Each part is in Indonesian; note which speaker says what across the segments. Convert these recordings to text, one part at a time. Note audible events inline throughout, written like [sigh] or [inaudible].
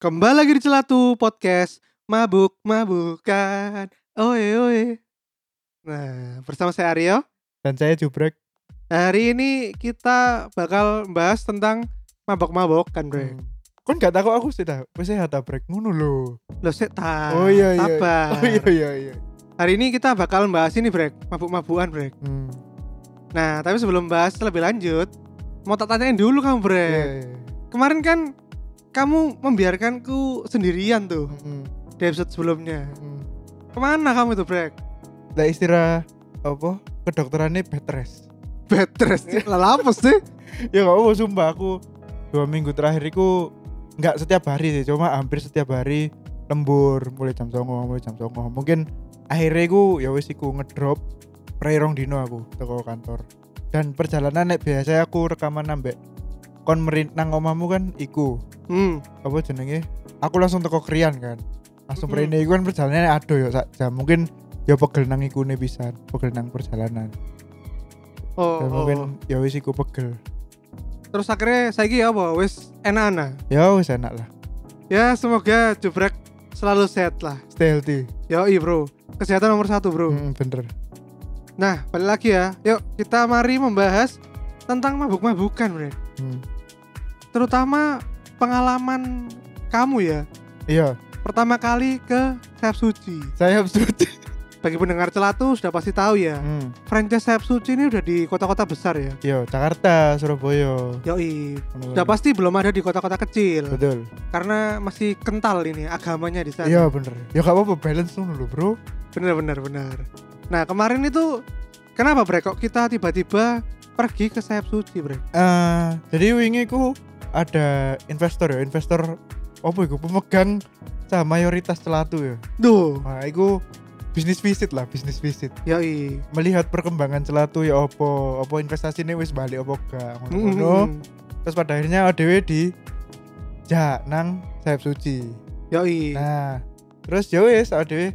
Speaker 1: Kembali lagi di Celatu Podcast Mabuk Mabukan Oe oe Nah bersama saya Aryo
Speaker 2: dan saya Jubrek
Speaker 1: Hari ini kita bakal bahas tentang mabok-mabokan bre
Speaker 2: hmm. kon gak takut aku sih tahu wis sehat ta brek ngono lho
Speaker 1: Loh seta
Speaker 2: oh iya iya
Speaker 1: Ah, Sabar
Speaker 2: oh iya iya iya
Speaker 1: Hari ini kita bakal bahas ini bre Mabuk-mabukan bre
Speaker 2: hmm.
Speaker 1: Nah tapi sebelum bahas lebih lanjut Mau tak tanyain dulu kamu bre
Speaker 2: iya, iya.
Speaker 1: Kemarin kan kamu membiarkanku sendirian tuh
Speaker 2: Hmm,
Speaker 1: di episode sebelumnya
Speaker 2: hmm.
Speaker 1: Kemana kamu tuh bre?
Speaker 2: Lah istirahat apa kedokterannya bed rest
Speaker 1: Bed rest Lah apa sih?
Speaker 2: ya gak apa sumpah aku dua minggu terakhir iku nggak setiap hari sih cuma hampir setiap hari lembur mulai jam songo mulai jam songo mungkin akhirnya aku ya wis iku ngedrop prerong dino aku teko kantor dan perjalanan nek biasa aku rekaman nambek kon merin nang omahmu kan iku
Speaker 1: Hmm
Speaker 2: apa jenenge aku langsung teko krian kan langsung
Speaker 1: Mm-mm.
Speaker 2: mrene iku kan perjalanan aduh ya sak jam mungkin ya pegel nang iku bisa pegel nang perjalanan
Speaker 1: Oh,
Speaker 2: dan
Speaker 1: oh,
Speaker 2: mungkin
Speaker 1: oh.
Speaker 2: ya wis iku pegel
Speaker 1: terus akhirnya saiki apa wis enak-enak.
Speaker 2: ya wis enak lah
Speaker 1: Ya semoga Jubrek selalu sehat lah.
Speaker 2: stay healthy
Speaker 1: Yoi bro, kesehatan nomor satu bro.
Speaker 2: Hmm, bener.
Speaker 1: Nah balik lagi ya, yuk kita mari membahas tentang mabuk-mabukan bre.
Speaker 2: Hmm.
Speaker 1: Terutama pengalaman kamu ya,
Speaker 2: Iya,
Speaker 1: pertama kali ke Sayap Suci.
Speaker 2: saya absurd.
Speaker 1: Bagi pendengar celatu sudah pasti tahu ya,
Speaker 2: Hmm.
Speaker 1: franchise Sayap Suci ini udah di kota-kota besar ya.
Speaker 2: Iya, Jakarta, Surabaya.
Speaker 1: Yoi,
Speaker 2: Ngono-ngono.
Speaker 1: sudah pasti belum ada di kota-kota kecil
Speaker 2: Hmm. Betul.
Speaker 1: karena masih kental ini agamanya di sana.
Speaker 2: Iya, bener. Ya gak apa-apa balance dulu, Bro.
Speaker 1: Bener bener bener. Nah kemarin itu kenapa bre kok kita tiba-tiba pergi ke sayap suci bre?
Speaker 2: Eh, jadi wingi ku ada investor ya, investor apa iku pemegang saham mayoritas celatu ya.
Speaker 1: Duh,
Speaker 2: Nah, iku bisnis visit lah, bisnis visit.
Speaker 1: yoi.
Speaker 2: Melihat perkembangan celatu ya opo, opo investasinya wis balik opo
Speaker 1: Mm,
Speaker 2: gak ngono-ngono.
Speaker 1: Mm-mm.
Speaker 2: Terus pada akhirnya ODW di Jak nang sayap suci.
Speaker 1: Yoi.
Speaker 2: Nah, terus ya wis awak dhewe.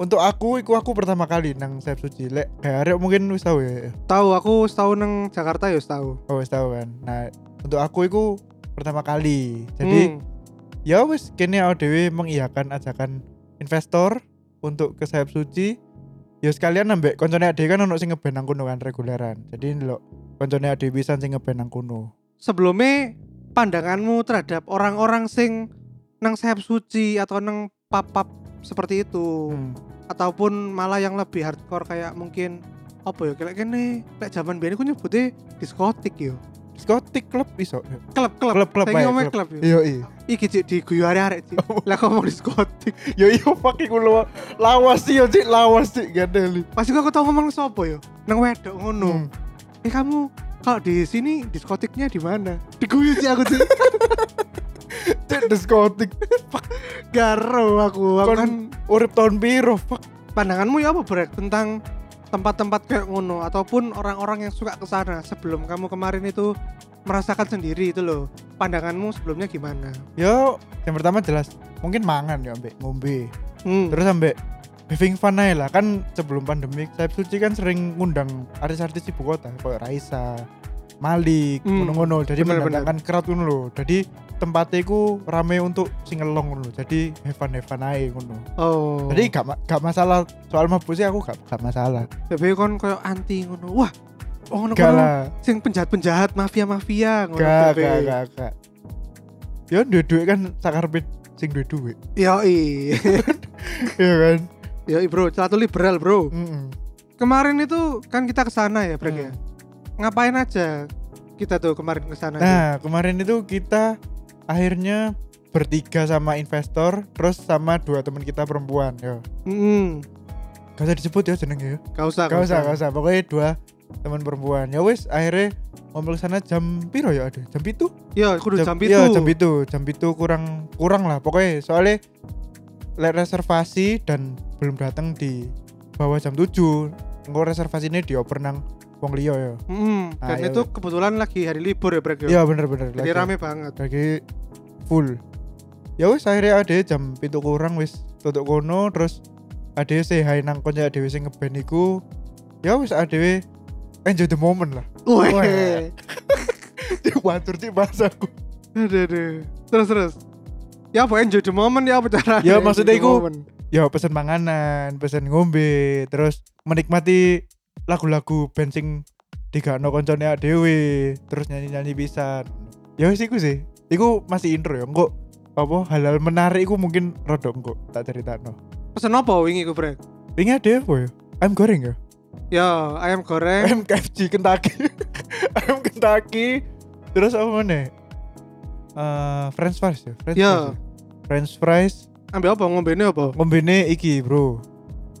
Speaker 2: Untuk aku iku aku pertama kali nang sayap suci. Lek kayak arek mungkin wis tau ya.
Speaker 1: Tahu aku setahun nang Jakarta ya tahu.
Speaker 2: Oh, wis tau kan. Nah, untuk aku iku pertama kali.
Speaker 1: Hmm.
Speaker 2: Jadi ya wis kene awak dhewe mengiyakan ajakan investor untuk ke sayap suci. Ya sekalian nambah koncone ade kan ono sing ngeband nang kono kan reguleran. Jadi lho koncone ade bisa sing ngeband nang kono.
Speaker 1: sebelumnya pandanganmu terhadap orang-orang sing nang sayap suci atau nang papap seperti itu
Speaker 2: Hmm.
Speaker 1: ataupun malah yang lebih hardcore kayak mungkin apa ya kayak kene kayak zaman biyen aku nyebutnya diskotik yo
Speaker 2: Diskotik klub iso.
Speaker 1: klub klub
Speaker 2: Klub klub
Speaker 1: saya
Speaker 2: ae,
Speaker 1: ngomongin
Speaker 2: klub.
Speaker 1: klub yo
Speaker 2: Iya iya.
Speaker 1: iki cik di guyu arek cik
Speaker 2: Oh.
Speaker 1: lah ngomong diskotik
Speaker 2: Yo yo fucking lu lawas sih yo cik lawas sih gadeli.
Speaker 1: pasti aku tau ngomong sopo yo nang wedok
Speaker 2: Hmm.
Speaker 1: ngono eh kamu kalau di sini diskotiknya di mana diguyu sih aku [laughs] sih
Speaker 2: Cek diskotik
Speaker 1: garo aku aku
Speaker 2: Kon-
Speaker 1: kan
Speaker 2: urip tahun biru fuck
Speaker 1: pandanganmu ya apa brek tentang tempat-tempat kayak ngono ataupun orang-orang yang suka ke sana sebelum kamu kemarin itu merasakan sendiri itu loh pandanganmu sebelumnya gimana
Speaker 2: yo yang pertama jelas mungkin mangan ya ambek ngombe
Speaker 1: hmm.
Speaker 2: terus ambek having fun aja lah kan sebelum pandemi saya suci kan sering ngundang artis-artis ibu kota kayak Raisa Malik
Speaker 1: Hmm.
Speaker 2: ngono-ngono jadi
Speaker 1: Bener,
Speaker 2: mendatangkan crowd ngono lho jadi tempatnya ku rame untuk singelong ngono lho jadi have fun have fun aja ngono
Speaker 1: oh
Speaker 2: jadi gak, ma- gak masalah soal mabuk sih aku gak, gak masalah
Speaker 1: tapi kon kayak anti ngono wah oh ngono
Speaker 2: gak
Speaker 1: kono
Speaker 2: lah
Speaker 1: sing penjahat-penjahat mafia-mafia ngono
Speaker 2: gak
Speaker 1: Bebe.
Speaker 2: gak gak gak yo duit-duit kan sakarpit sing duit-duit
Speaker 1: Yoi [laughs]
Speaker 2: iya kan
Speaker 1: Yoi bro, celatu liberal bro
Speaker 2: Mm-mm.
Speaker 1: Kemarin itu kan kita ke sana ya Brek ya
Speaker 2: Hmm.
Speaker 1: Ngapain aja kita tuh kemarin ke sana tuh?
Speaker 2: Nah, kemarin itu kita akhirnya bertiga sama investor, terus sama dua teman kita perempuan. Yo.
Speaker 1: Mm-mm.
Speaker 2: Gak usah disebut ya jenengnya ya.
Speaker 1: Gak usah
Speaker 2: Gak usah, gak usah. Pokoknya dua teman perempuan. Ya wis, akhirnya ngomong ke sana jam piro ya aduh jam itu
Speaker 1: Yo, kudu jam,
Speaker 2: iya,
Speaker 1: itu
Speaker 2: jam itu jam itu kurang kurang lah pokoknya soalnya lek reservasi dan belum datang di bawah jam 7 engko reservasinya dioper nang wong liya ya.
Speaker 1: Mm, dan
Speaker 2: Ah, iya,
Speaker 1: itu kebetulan lagi hari libur ya Brek.
Speaker 2: Iya bener-bener.
Speaker 1: Jadi rame banget.
Speaker 2: lagi full ya wis akhirnya ada jam pintu kurang wis tutup kono terus ada say hi nang konco ada sing ngeband iku ya wis ada enjoy the moment lah [laughs] Wah.
Speaker 1: Wih.
Speaker 2: wancur sih bahasaku
Speaker 1: Aduh, aduh. Terus terus. Ya apa enjoy the moment ya apa cara?
Speaker 2: Ya, maksudnya iku- ya pesen makanan pesen ngombe terus menikmati lagu-lagu band sing tiga no koncone adewe terus nyanyi-nyanyi pisan ya wis iku sih iku masih intro ya engko apa halal menarik iku mungkin rodok engko tak ceritano
Speaker 1: Pesen apa wingi iku Brek?
Speaker 2: ini ada apa ya I'm goreng ya
Speaker 1: Ya, ayam goreng.
Speaker 2: MKFC Kentucky [laughs] ayam Kentucky terus apa mana Eh, French fries ya French
Speaker 1: Ya.
Speaker 2: fries ya? French fries
Speaker 1: Ambil apa ngombene apa?
Speaker 2: kombine iki bro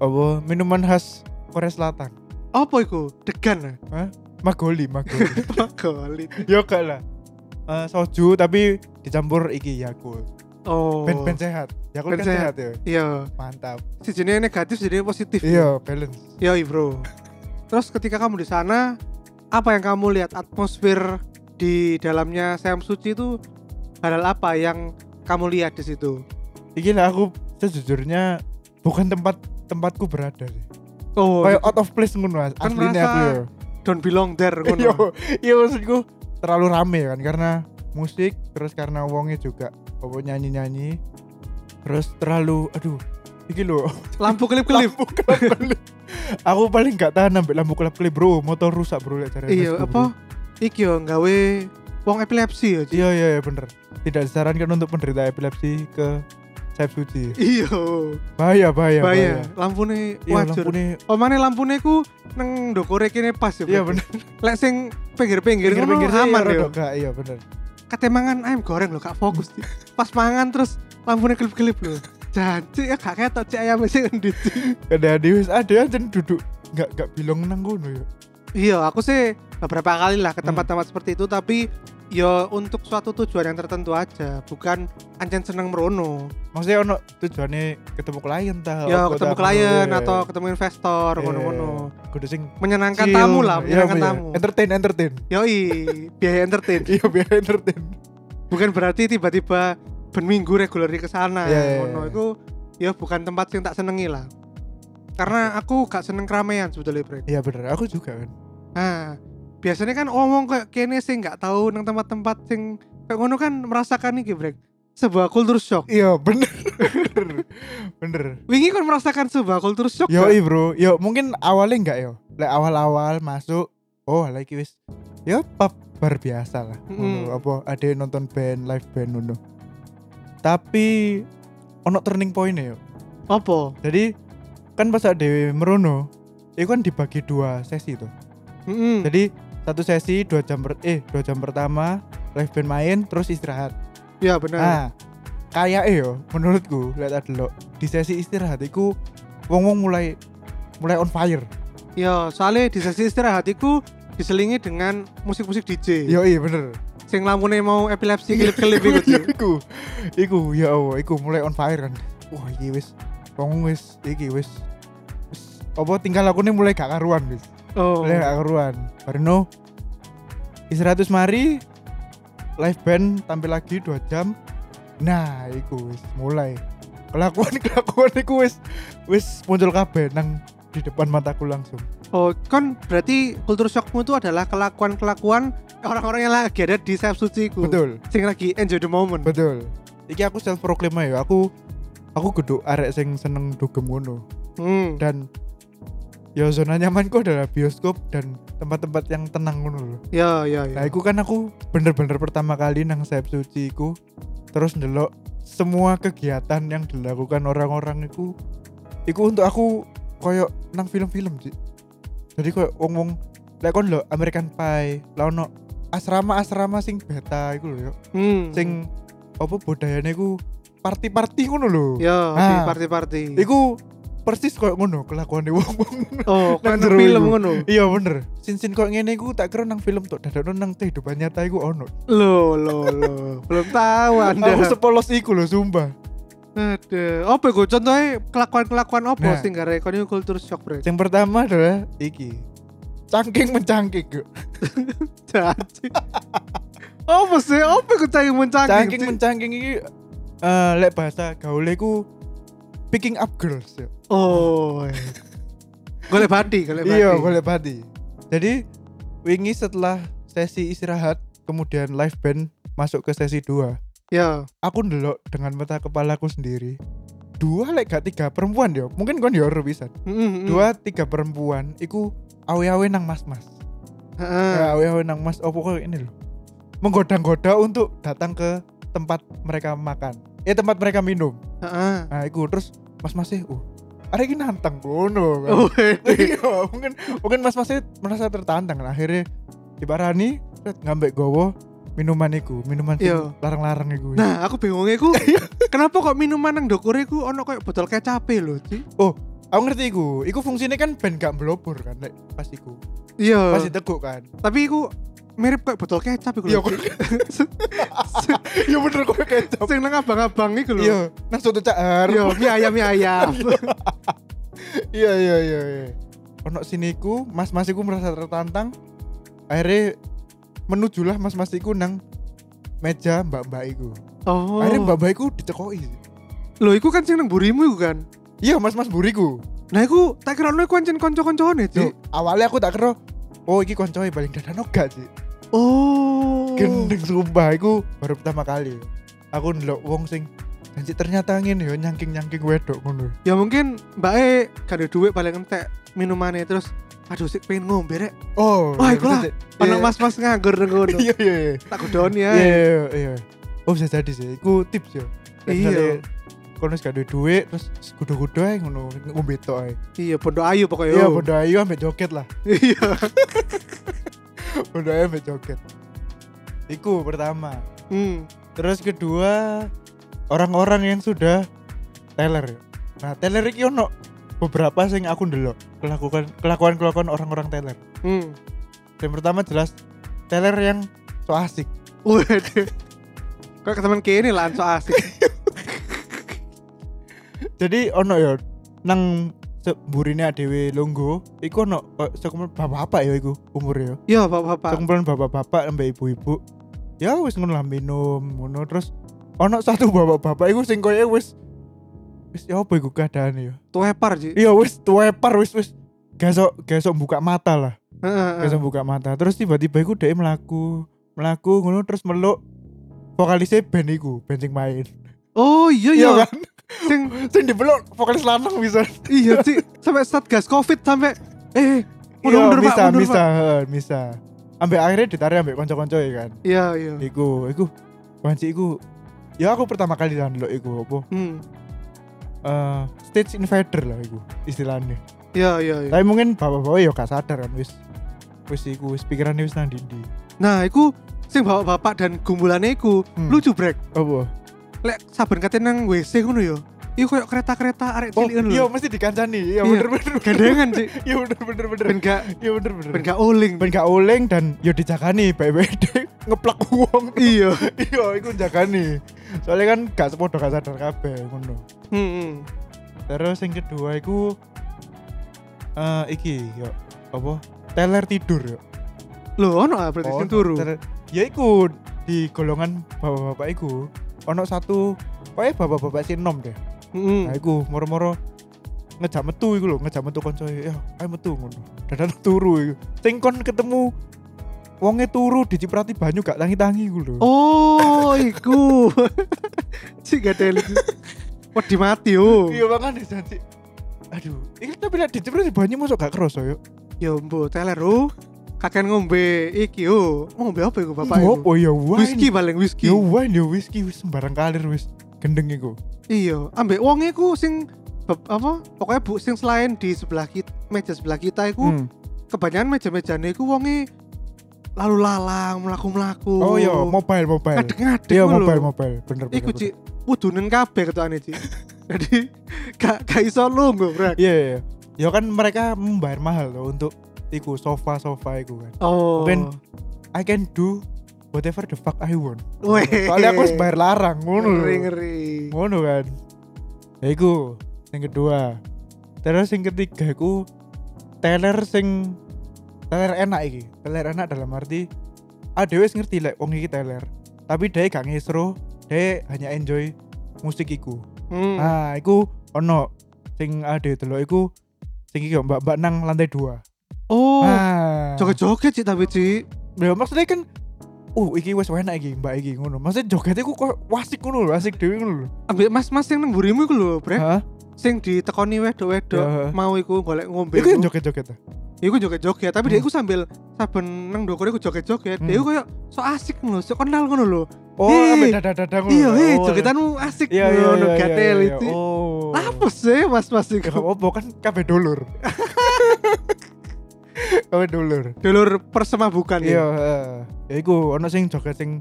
Speaker 2: apa minuman khas Korea Selatan
Speaker 1: Apa iku? Degan. [laughs]
Speaker 2: magoli magoli
Speaker 1: Magolit.
Speaker 2: yo gak lah Eh, soju tapi dicampur iki Yakult
Speaker 1: Oh.
Speaker 2: ben ben sehat Yakult
Speaker 1: Ben
Speaker 2: kan sehat. ya
Speaker 1: Iya,
Speaker 2: mantap
Speaker 1: si jenis negatif jadi positif.
Speaker 2: iya balance
Speaker 1: Iya, Bro. Terus ketika kamu di sana, apa yang kamu lihat atmosfer di dalamnya Seam Suci itu hal apa yang kamu lihat di situ?
Speaker 2: iki lah aku sejujurnya bukan tempat tempatku berada sih
Speaker 1: Oh,
Speaker 2: kayak out of place ngono Mas.
Speaker 1: Kan
Speaker 2: aslinya
Speaker 1: merasa
Speaker 2: aku ya
Speaker 1: don't belong there
Speaker 2: Iya,
Speaker 1: ngono.
Speaker 2: iya maksudku terlalu rame kan karena musik terus karena wongnya juga apa nyanyi nyanyi terus terlalu aduh iki lo
Speaker 1: Lampu kelip-kelip.
Speaker 2: [laughs] aku paling nggak tahan ambek lampu kelap kelip bro motor rusak bro lihat cari
Speaker 1: [laughs] Iya, apa? Iki yo nggawe wong epilepsi ya. Ji.
Speaker 2: iya iya iya, bener tidak disarankan untuk penderita epilepsi ke sayap suci
Speaker 1: Iya,
Speaker 2: bahaya
Speaker 1: bahaya.
Speaker 2: bahaya Iya, bahaya,
Speaker 1: Lampune
Speaker 2: iya
Speaker 1: wajur.
Speaker 2: lampune
Speaker 1: Omane lampune ku neng ndokore kene pas ya.
Speaker 2: iya
Speaker 1: Bro.
Speaker 2: bener
Speaker 1: Lek sing pinggir-pinggir ngono
Speaker 2: Pinggir-pinggirnya
Speaker 1: aman ya,
Speaker 2: iya,
Speaker 1: yo.
Speaker 2: rodok gak, iya bener
Speaker 1: kate mangan ayam goreng loh kak fokus pas mangan terus lampunya kelip-kelip loh janji ya gak ketok cek ayam sih ngendi Cik.
Speaker 2: ada ada wis ada aja duduk nggak nggak bilang nang kono ya
Speaker 1: iya aku sih beberapa kali lah
Speaker 2: Hmm.
Speaker 1: ke tempat-tempat seperti itu tapi ya untuk suatu tujuan yang tertentu aja bukan anjen seneng merono
Speaker 2: maksudnya ono tujuannya ketemu klien tah
Speaker 1: ya
Speaker 2: apa
Speaker 1: ketemu
Speaker 2: tah,
Speaker 1: klien
Speaker 2: ngono, ya.
Speaker 1: atau ketemu investor
Speaker 2: Iya.
Speaker 1: ngono-ngono
Speaker 2: kudu sing
Speaker 1: menyenangkan
Speaker 2: chill,
Speaker 1: tamu lah
Speaker 2: iya,
Speaker 1: menyenangkan
Speaker 2: iya.
Speaker 1: tamu
Speaker 2: entertain entertain
Speaker 1: yoi biaya entertain
Speaker 2: iya biar entertain
Speaker 1: bukan berarti tiba-tiba berminggu reguler ke sana
Speaker 2: Iya, iya,
Speaker 1: ngono
Speaker 2: iya.
Speaker 1: itu ya bukan tempat yang tak senengi lah karena aku gak seneng keramaian sebetulnya Bre.
Speaker 2: iya bener aku juga kan
Speaker 1: Nah, biasanya kan omong kayak kene sih nggak tahu nang tempat-tempat sing kayak ngono kan merasakan iki Bre. sebuah kultur shock
Speaker 2: iya bener [laughs] bener
Speaker 1: wingi kan merasakan sebuah kultur shock
Speaker 2: yo
Speaker 1: gak?
Speaker 2: bro yo mungkin awalnya enggak yo lek awal awal masuk oh lagi wis yo pub bar biasa lah
Speaker 1: Mm.
Speaker 2: ngono apa ada yang nonton band live band ngono tapi ono turning pointnya yo
Speaker 1: apa
Speaker 2: jadi kan pas ada merono itu kan dibagi dua sesi tuh
Speaker 1: Mm-mm.
Speaker 2: Jadi satu sesi dua jam per, eh dua jam pertama live band main terus istirahat.
Speaker 1: ya benar
Speaker 2: Nah, kayak eh yo menurutku lihat ada di sesi istirahat iku wong-wong mulai mulai on fire.
Speaker 1: ya soalnya di sesi istirahat iku diselingi dengan musik-musik DJ
Speaker 2: Yo iya bener.
Speaker 1: sing lamune mau epilepsi
Speaker 2: [laughs]
Speaker 1: kelip-kelip iku
Speaker 2: Iya,
Speaker 1: Cik.
Speaker 2: iku. Iku ya Allah, iku mulai on fire kan. Wah, iki wis wong wis iki wis wis apa tingkah lakunya mulai gak karuan wis.
Speaker 1: oh
Speaker 2: Mulai gak karuan. Barno istirahat wis mari live band tampil lagi 2 jam. Nah, iku wis mulai. [laughs] Kelakuan-kelakuan iku wis wis muncul kabeh nang di depan mataku langsung.
Speaker 1: Oh, kan berarti kultur shockmu itu adalah kelakuan-kelakuan orang-orang yang lagi ada di sayap suci ku.
Speaker 2: Betul,
Speaker 1: Sing lagi enjoy the moment.
Speaker 2: betul. Iki aku self proclaim ya, aku aku geduk arek sing seneng dugem ngono
Speaker 1: Hmm.
Speaker 2: dan ya zona nyamanku adalah bioskop dan tempat-tempat yang tenang ngono lho.
Speaker 1: Ya, ya, ya.
Speaker 2: Nah, iku kan aku bener-bener pertama kali nang sayap suci iku terus ndelok semua kegiatan yang dilakukan orang-orang iku iku untuk aku koyo nang film-film sih. Jadi koyo wong-wong lek kon lho American Pie, lah ono asrama-asrama sing beta iku lho yo.
Speaker 1: Hmm.
Speaker 2: Sing apa budayane iku party-party ngono lho.
Speaker 1: ya,
Speaker 2: Ah.
Speaker 1: di party-party.
Speaker 2: Iku persis koyo ngono kelakuane wong-wong
Speaker 1: Oh,
Speaker 2: Nang
Speaker 1: kan
Speaker 2: jero
Speaker 1: film
Speaker 2: iku.
Speaker 1: ngono.
Speaker 2: iya bener sin-sin kok ngene iku tak kira nang film tok dadakno nang kehidupan nyata iku ono
Speaker 1: Lo, lo, lo. Belum tahu Anda.
Speaker 2: aku sepolos iku lho sumpah
Speaker 1: Ada. Apa iku contohnya kelakuan-kelakuan apa
Speaker 2: Nah.
Speaker 1: sing gara kultur shock, Bro?
Speaker 2: yang pertama adalah iki cangking mencangking Cuk.
Speaker 1: Jadi. apa sih? Apa iku cangking mencangking?
Speaker 2: cangking
Speaker 1: sih?
Speaker 2: mencangking iki eh lek bahasa gaule ku picking up girls Cuk.
Speaker 1: Oh. Golek bati, golek bati.
Speaker 2: iya golek pati jadi wingi setelah sesi istirahat kemudian live band masuk ke sesi 2
Speaker 1: Iya.
Speaker 2: aku ndelok dengan mata kepalaku sendiri dua lek gak tiga perempuan yo mungkin kon yo ero pisan
Speaker 1: Mm, mm.
Speaker 2: dua tiga perempuan iku awe-awe nang mas-mas
Speaker 1: Heeh.
Speaker 2: ya awe-awe nang mas opo kok ini loh menggoda-goda untuk datang ke tempat mereka makan eh tempat mereka minum
Speaker 1: Heeh.
Speaker 2: nah iku terus mas-masnya uh hari ini nantang kono
Speaker 1: [laughs] Oh.
Speaker 2: kan.
Speaker 1: Wih.
Speaker 2: [laughs] iya mungkin mungkin mas masnya merasa tertantang lah akhirnya diparani set, ngambek gowo minuman iku minuman sing
Speaker 1: Iya.
Speaker 2: larang-larang iku
Speaker 1: Nah, aku bingungnya ku
Speaker 2: Iya.
Speaker 1: kenapa kok minuman nang dokure ku ono koyo botol kecap lho, Ci?
Speaker 2: aku ngerti iku iku fungsinya kan ben gak melobor kan lek pas iku
Speaker 1: Iya.
Speaker 2: pas diteguk kan
Speaker 1: Tapi iku mirip kayak botol kecap iku lho.
Speaker 2: Iya, kok- iya bener kok kecap
Speaker 1: Sing nang abang-abang iku lho.
Speaker 2: iya nang soto cahar
Speaker 1: Iya, mie ayam mie ayam.
Speaker 2: iya iya iya iya ono sini iku mas mas iku merasa tertantang akhirnya menujulah mas mas iku nang meja mbak mbak iku
Speaker 1: Oh.
Speaker 2: akhirnya mbak mbak iku dicekoi
Speaker 1: Lho, iku kan sing nang burimu iku kan.
Speaker 2: iya mas mas buriku
Speaker 1: Nah, iku tak kira iku ancen kanca-kancane, Ci.
Speaker 2: Cuk, awalnya aku tak kira oh iki koncoe paling dadano gak sih
Speaker 1: Oh.
Speaker 2: gendeng sumpah iku baru pertama kali aku ndelok wong sing janji ternyata ngene yo nyangking-nyangking wedok ngono
Speaker 1: Ya mungkin Mbak E gak ada duit paling entek minumannya terus aduh sik pengen ngombe rek.
Speaker 2: oh
Speaker 1: Wah,
Speaker 2: iya,
Speaker 1: iku lah.
Speaker 2: bisa jadi.
Speaker 1: Anak mas-mas nganggur nang ngono.
Speaker 2: iya iya iya
Speaker 1: Tak godoni
Speaker 2: iya
Speaker 1: ae.
Speaker 2: iya, iya oh bisa jadi sih iku tips yo Lek
Speaker 1: Iya.
Speaker 2: misalnya kono wis gak duwe duit terus kudu-kudu ae ngono ngombe tok ae
Speaker 1: Iya, pondok ayu pokoknya.
Speaker 2: iya
Speaker 1: oh.
Speaker 2: bodo ayu ambek joget lah [laughs]
Speaker 1: Iya.
Speaker 2: bodo ayu ambek joget iku pertama
Speaker 1: Hmm.
Speaker 2: Terus kedua orang-orang yang sudah teler. Nah, teler iki ono beberapa sing aku ndelok kelakuan kelakuan kelakuan orang-orang teler.
Speaker 1: Hmm.
Speaker 2: Yang pertama jelas teler yang so asik.
Speaker 1: Waduh. Kok ketemen kene lah so asik.
Speaker 2: Jadi ono ya nang seburine adewe longgo iku ono eh, sekumpulan bapak-bapak ya iku umure ya.
Speaker 1: Iya, Bapak-bapak.
Speaker 2: Sekumpulan bapak-bapak sampai ibu-ibu. Ya wis ngono lah minum, ngono terus ono satu bapak-bapak iku sing koyo wis wis ya apa iku keadaane ya.
Speaker 1: Tuwepar, Ji.
Speaker 2: iya wis tuwepar wis wis gasok gasok buka mata lah
Speaker 1: Heeh. heeh.
Speaker 2: gasok buka mata terus tiba-tiba iku dhek melaku melaku ngono terus meluk vokalisnya band iku band sing main [laughs]
Speaker 1: Oh, iya iya.
Speaker 2: kan
Speaker 1: Sing
Speaker 2: sing dipeluk vokalis lanang bisa
Speaker 1: iya, Ci. Sampai satgas Covid sampai eh
Speaker 2: iya
Speaker 1: mundur mundur Pak,
Speaker 2: bisa
Speaker 1: mundur
Speaker 2: bisa
Speaker 1: Pak.
Speaker 2: heeh, bisa ambek akhirnya ditarik ambek konco-konco ya kan
Speaker 1: Iya, iya.
Speaker 2: iku iku wanci iku ya aku pertama kali lah ndelok iku apa
Speaker 1: Hmm.
Speaker 2: eh, stage invader lah iku istilahnya
Speaker 1: Iya, iya, iya.
Speaker 2: tapi mungkin bapak-bapak ya gak sadar kan wis wis iku wis pikirannya wis nang dindi
Speaker 1: Nah, iku sing bapak-bapak dan gumbulannya iku
Speaker 2: Hmm.
Speaker 1: lucu brek.
Speaker 2: apa
Speaker 1: Lek saben kate nang WC ngono yo. Iku koyo kereta-kereta arek
Speaker 2: Oh,
Speaker 1: cilik ngono
Speaker 2: iya
Speaker 1: kan lho.
Speaker 2: mesti dikancani. Iya,
Speaker 1: Iya.
Speaker 2: bener bener.
Speaker 1: Gandengan sih.
Speaker 2: Iya bener bener bener.
Speaker 1: Ben gak
Speaker 2: Iya bener bener.
Speaker 1: ben gak oling.
Speaker 2: Ben gak oleng dan yo dijakani BWD [laughs] ngeplak wong.
Speaker 1: Iya.
Speaker 2: Iya, iku jakani. Soalnya kan gak sepodo gak sadar kabeh ngono.
Speaker 1: Hmm.
Speaker 2: Terus yang kedua iku eh iki yo apa? Teler tidur yo. Oh,
Speaker 1: Lho ono ah berarti sing turu.
Speaker 2: teler- Ya iku di golongan bapak-bapak iku ono satu pokoknya bapak-bapak sih nom deh.
Speaker 1: Heeh.
Speaker 2: Nah, iku moro-moro ngejak metu iku lho, ngejak metu kanca ya, ayo metu ngono. Dadan [laughs] turu iku. Sing kon ketemu wonge turu diciprati banyu gak tangi-tangi iku lho.
Speaker 1: Oh, iku. [laughs] Cik gak ada lucu. Wedi mati yo.
Speaker 2: Iya makane janji. Aduh, iki tapi lek diciprati banyu masuk gak kerasa yo.
Speaker 1: Yo mbo Ya teler oh. Kakek ngombe iki yo. Ngombe apa iku bapak iku?
Speaker 2: Opo ya wine.
Speaker 1: Whisky paling whisky.
Speaker 2: Yo wine yo whisky wis sembarang kalir wis gendeng iku.
Speaker 1: Iya, ambek wong iku sing bab- apa? Pokoknya bu sing selain di sebelah kita, meja sebelah kita iku
Speaker 2: Hmm.
Speaker 1: kebanyakan meja-mejane iku wonge lalu lalang, mlaku-mlaku.
Speaker 2: Oh iya, mobile mobile.
Speaker 1: ngadeg-ngadeg
Speaker 2: Iya
Speaker 1: ngono lho.
Speaker 2: mobile mobile bener bener.
Speaker 1: Iku
Speaker 2: bener.
Speaker 1: Cik, wudunen kabeh ketokane Cik. [laughs] Jadi gak gak iso lungguh, Bro.
Speaker 2: Iya iya. iya. Ya kan mereka membayar mahal loh untuk iku sofa-sofa iku kan.
Speaker 1: Oh.
Speaker 2: Ben- I can do whatever the fuck I want.
Speaker 1: Weh.
Speaker 2: Soalnya aku harus bayar larang ngono. lho.
Speaker 1: ngeri ngeri.
Speaker 2: Ngono kan. Ya iku yang kedua. Terus yang ketiga iku teler sing teler enak iki teler enak dalam arti ah dhewe wis ngerti lek wong iki teler tapi dhewe gak ngesro dhewe hanya enjoy musik iku
Speaker 1: Hmm.
Speaker 2: ah iku ono sing ade delok iku sing iki yo mbak-mbak nang lantai dua
Speaker 1: Oh,
Speaker 2: ah
Speaker 1: joget-joget sih tapi sih.
Speaker 2: ya maksudnya kan uh iki wes enak iki mbak iki ngono maksudnya jogetnya ku kok wasik ngono lho asik dhewe ngono lho
Speaker 1: Ambil mas-mas yang nang burimu iku lho, Bre.
Speaker 2: Hah?
Speaker 1: Sing ditekoni wedok-wedok
Speaker 2: Ya.
Speaker 1: mau iku golek ngombe.
Speaker 2: Iku yang
Speaker 1: iku.
Speaker 2: joget-joget ta?
Speaker 1: Iku joget-joget, tapi dia
Speaker 2: Hmm.
Speaker 1: iku sambil saben nang dokone iku joget-joget. Dia
Speaker 2: Hmm.
Speaker 1: iku koyo so asik lho, so kenal ngono lho.
Speaker 2: Oh,
Speaker 1: Hei.
Speaker 2: sampe dada-dada ngono.
Speaker 1: Iya, hei,
Speaker 2: Oh,
Speaker 1: jogetanmu asik
Speaker 2: Iya, iya,
Speaker 1: ngono
Speaker 2: iya, iya,
Speaker 1: gatel
Speaker 2: iya,
Speaker 1: itu.
Speaker 2: Oh. [laughs]
Speaker 1: Apa sih mas-mas
Speaker 2: Ya
Speaker 1: iku?
Speaker 2: apa kan kabeh
Speaker 1: [laughs]
Speaker 2: dulur. kabeh dulur.
Speaker 1: Dulur persemabukan
Speaker 2: Iya,
Speaker 1: ya.
Speaker 2: heeh. ya iku ono sing joget sing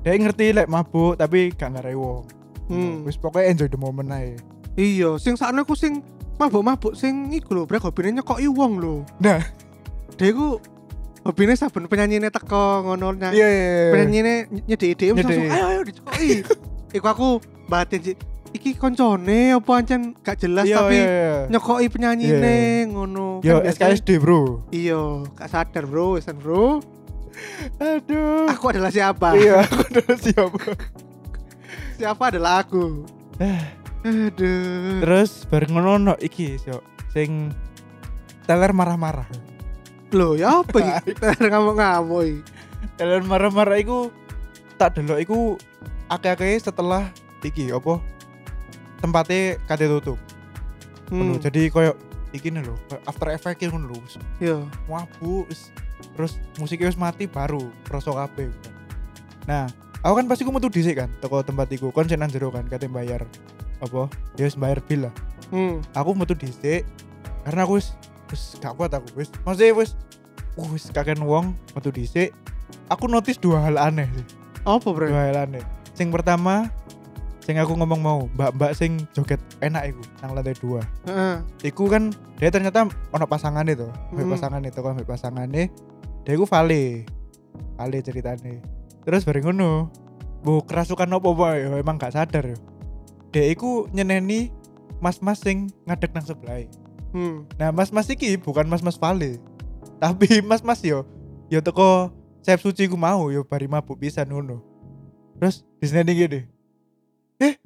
Speaker 2: dia ngerti lek mabuk tapi gak ngarai wong.
Speaker 1: Hmm.
Speaker 2: Wis pokoknya enjoy the moment ae.
Speaker 1: Iya, sing sakno iku sing mabuk-mabuk sing iku lho, Bre, hobine nyekoki wong lho.
Speaker 2: Nah.
Speaker 1: Dia iku hobine saben penyanyine teko ngono nah, nyanyi.
Speaker 2: Iya, iya, iya.
Speaker 1: penyanyi ini nyedek ide langsung
Speaker 2: Nyedeki.
Speaker 1: ayo ayo dicokoki iku aku batin sih iki koncone apa ancen gak jelas
Speaker 2: Iya,
Speaker 1: tapi
Speaker 2: iya, iya.
Speaker 1: nyokoki penyanyi
Speaker 2: Iya,
Speaker 1: ini
Speaker 2: iya.
Speaker 1: ngono
Speaker 2: Yo
Speaker 1: Kan biasanya-
Speaker 2: SKSD, Bro.
Speaker 1: iya gak sadar bro Wisan bro
Speaker 2: Aduh.
Speaker 1: aku adalah siapa
Speaker 2: Iya, aku [laughs] udah siap.
Speaker 1: siapa adalah aku
Speaker 2: Eh.
Speaker 1: aduh
Speaker 2: Terus bareng ngono ono iki yo sing teler marah-marah.
Speaker 1: loh ya apa iki [laughs] ngamuk-ngamuk iki.
Speaker 2: Teler marah-marah iku tak delok iku akeh-akeh setelah iki apa tempatnya kate tutup.
Speaker 1: hmm,
Speaker 2: Ngono, Jadi koyo iki nih lho, koyo after effect ngono lho. wis
Speaker 1: iya
Speaker 2: Mabuk wis- terus musiknya wis mati baru rasa kabeh. Nah, aku kan pasti ku metu dhisik kan teko tempat iku kon sing nang jero kan kate bayar apa? Ya wis bayar bil lah.
Speaker 1: hmm.
Speaker 2: aku metu dhisik karena aku wis wis gak kuat aku wis maksudnya wis uh, wis kakek wong metu dhisik aku notice dua hal aneh sih
Speaker 1: apa bro
Speaker 2: dua hal aneh sing pertama sing aku ngomong mau mbak-mbak sing joget enak iku nang lantai dua
Speaker 1: Heeh.
Speaker 2: iku kan dia ternyata ono pasangan itu
Speaker 1: Hmm.
Speaker 2: pasangan itu kan pasangan dia iku vale vale ceritane terus bareng ngono bu kerasukan opo apa ya emang gak sadar ya dia iku nyeneni mas-mas sing ngadeg nang sebelah e.
Speaker 1: hmm.
Speaker 2: Nah, mas-mas iki bukan mas-mas Vale. Tapi [laughs] mas-mas yo yo teko Chef Suci ku mau yo bari mabuk pisan ngono. Terus di sini gini. Eh,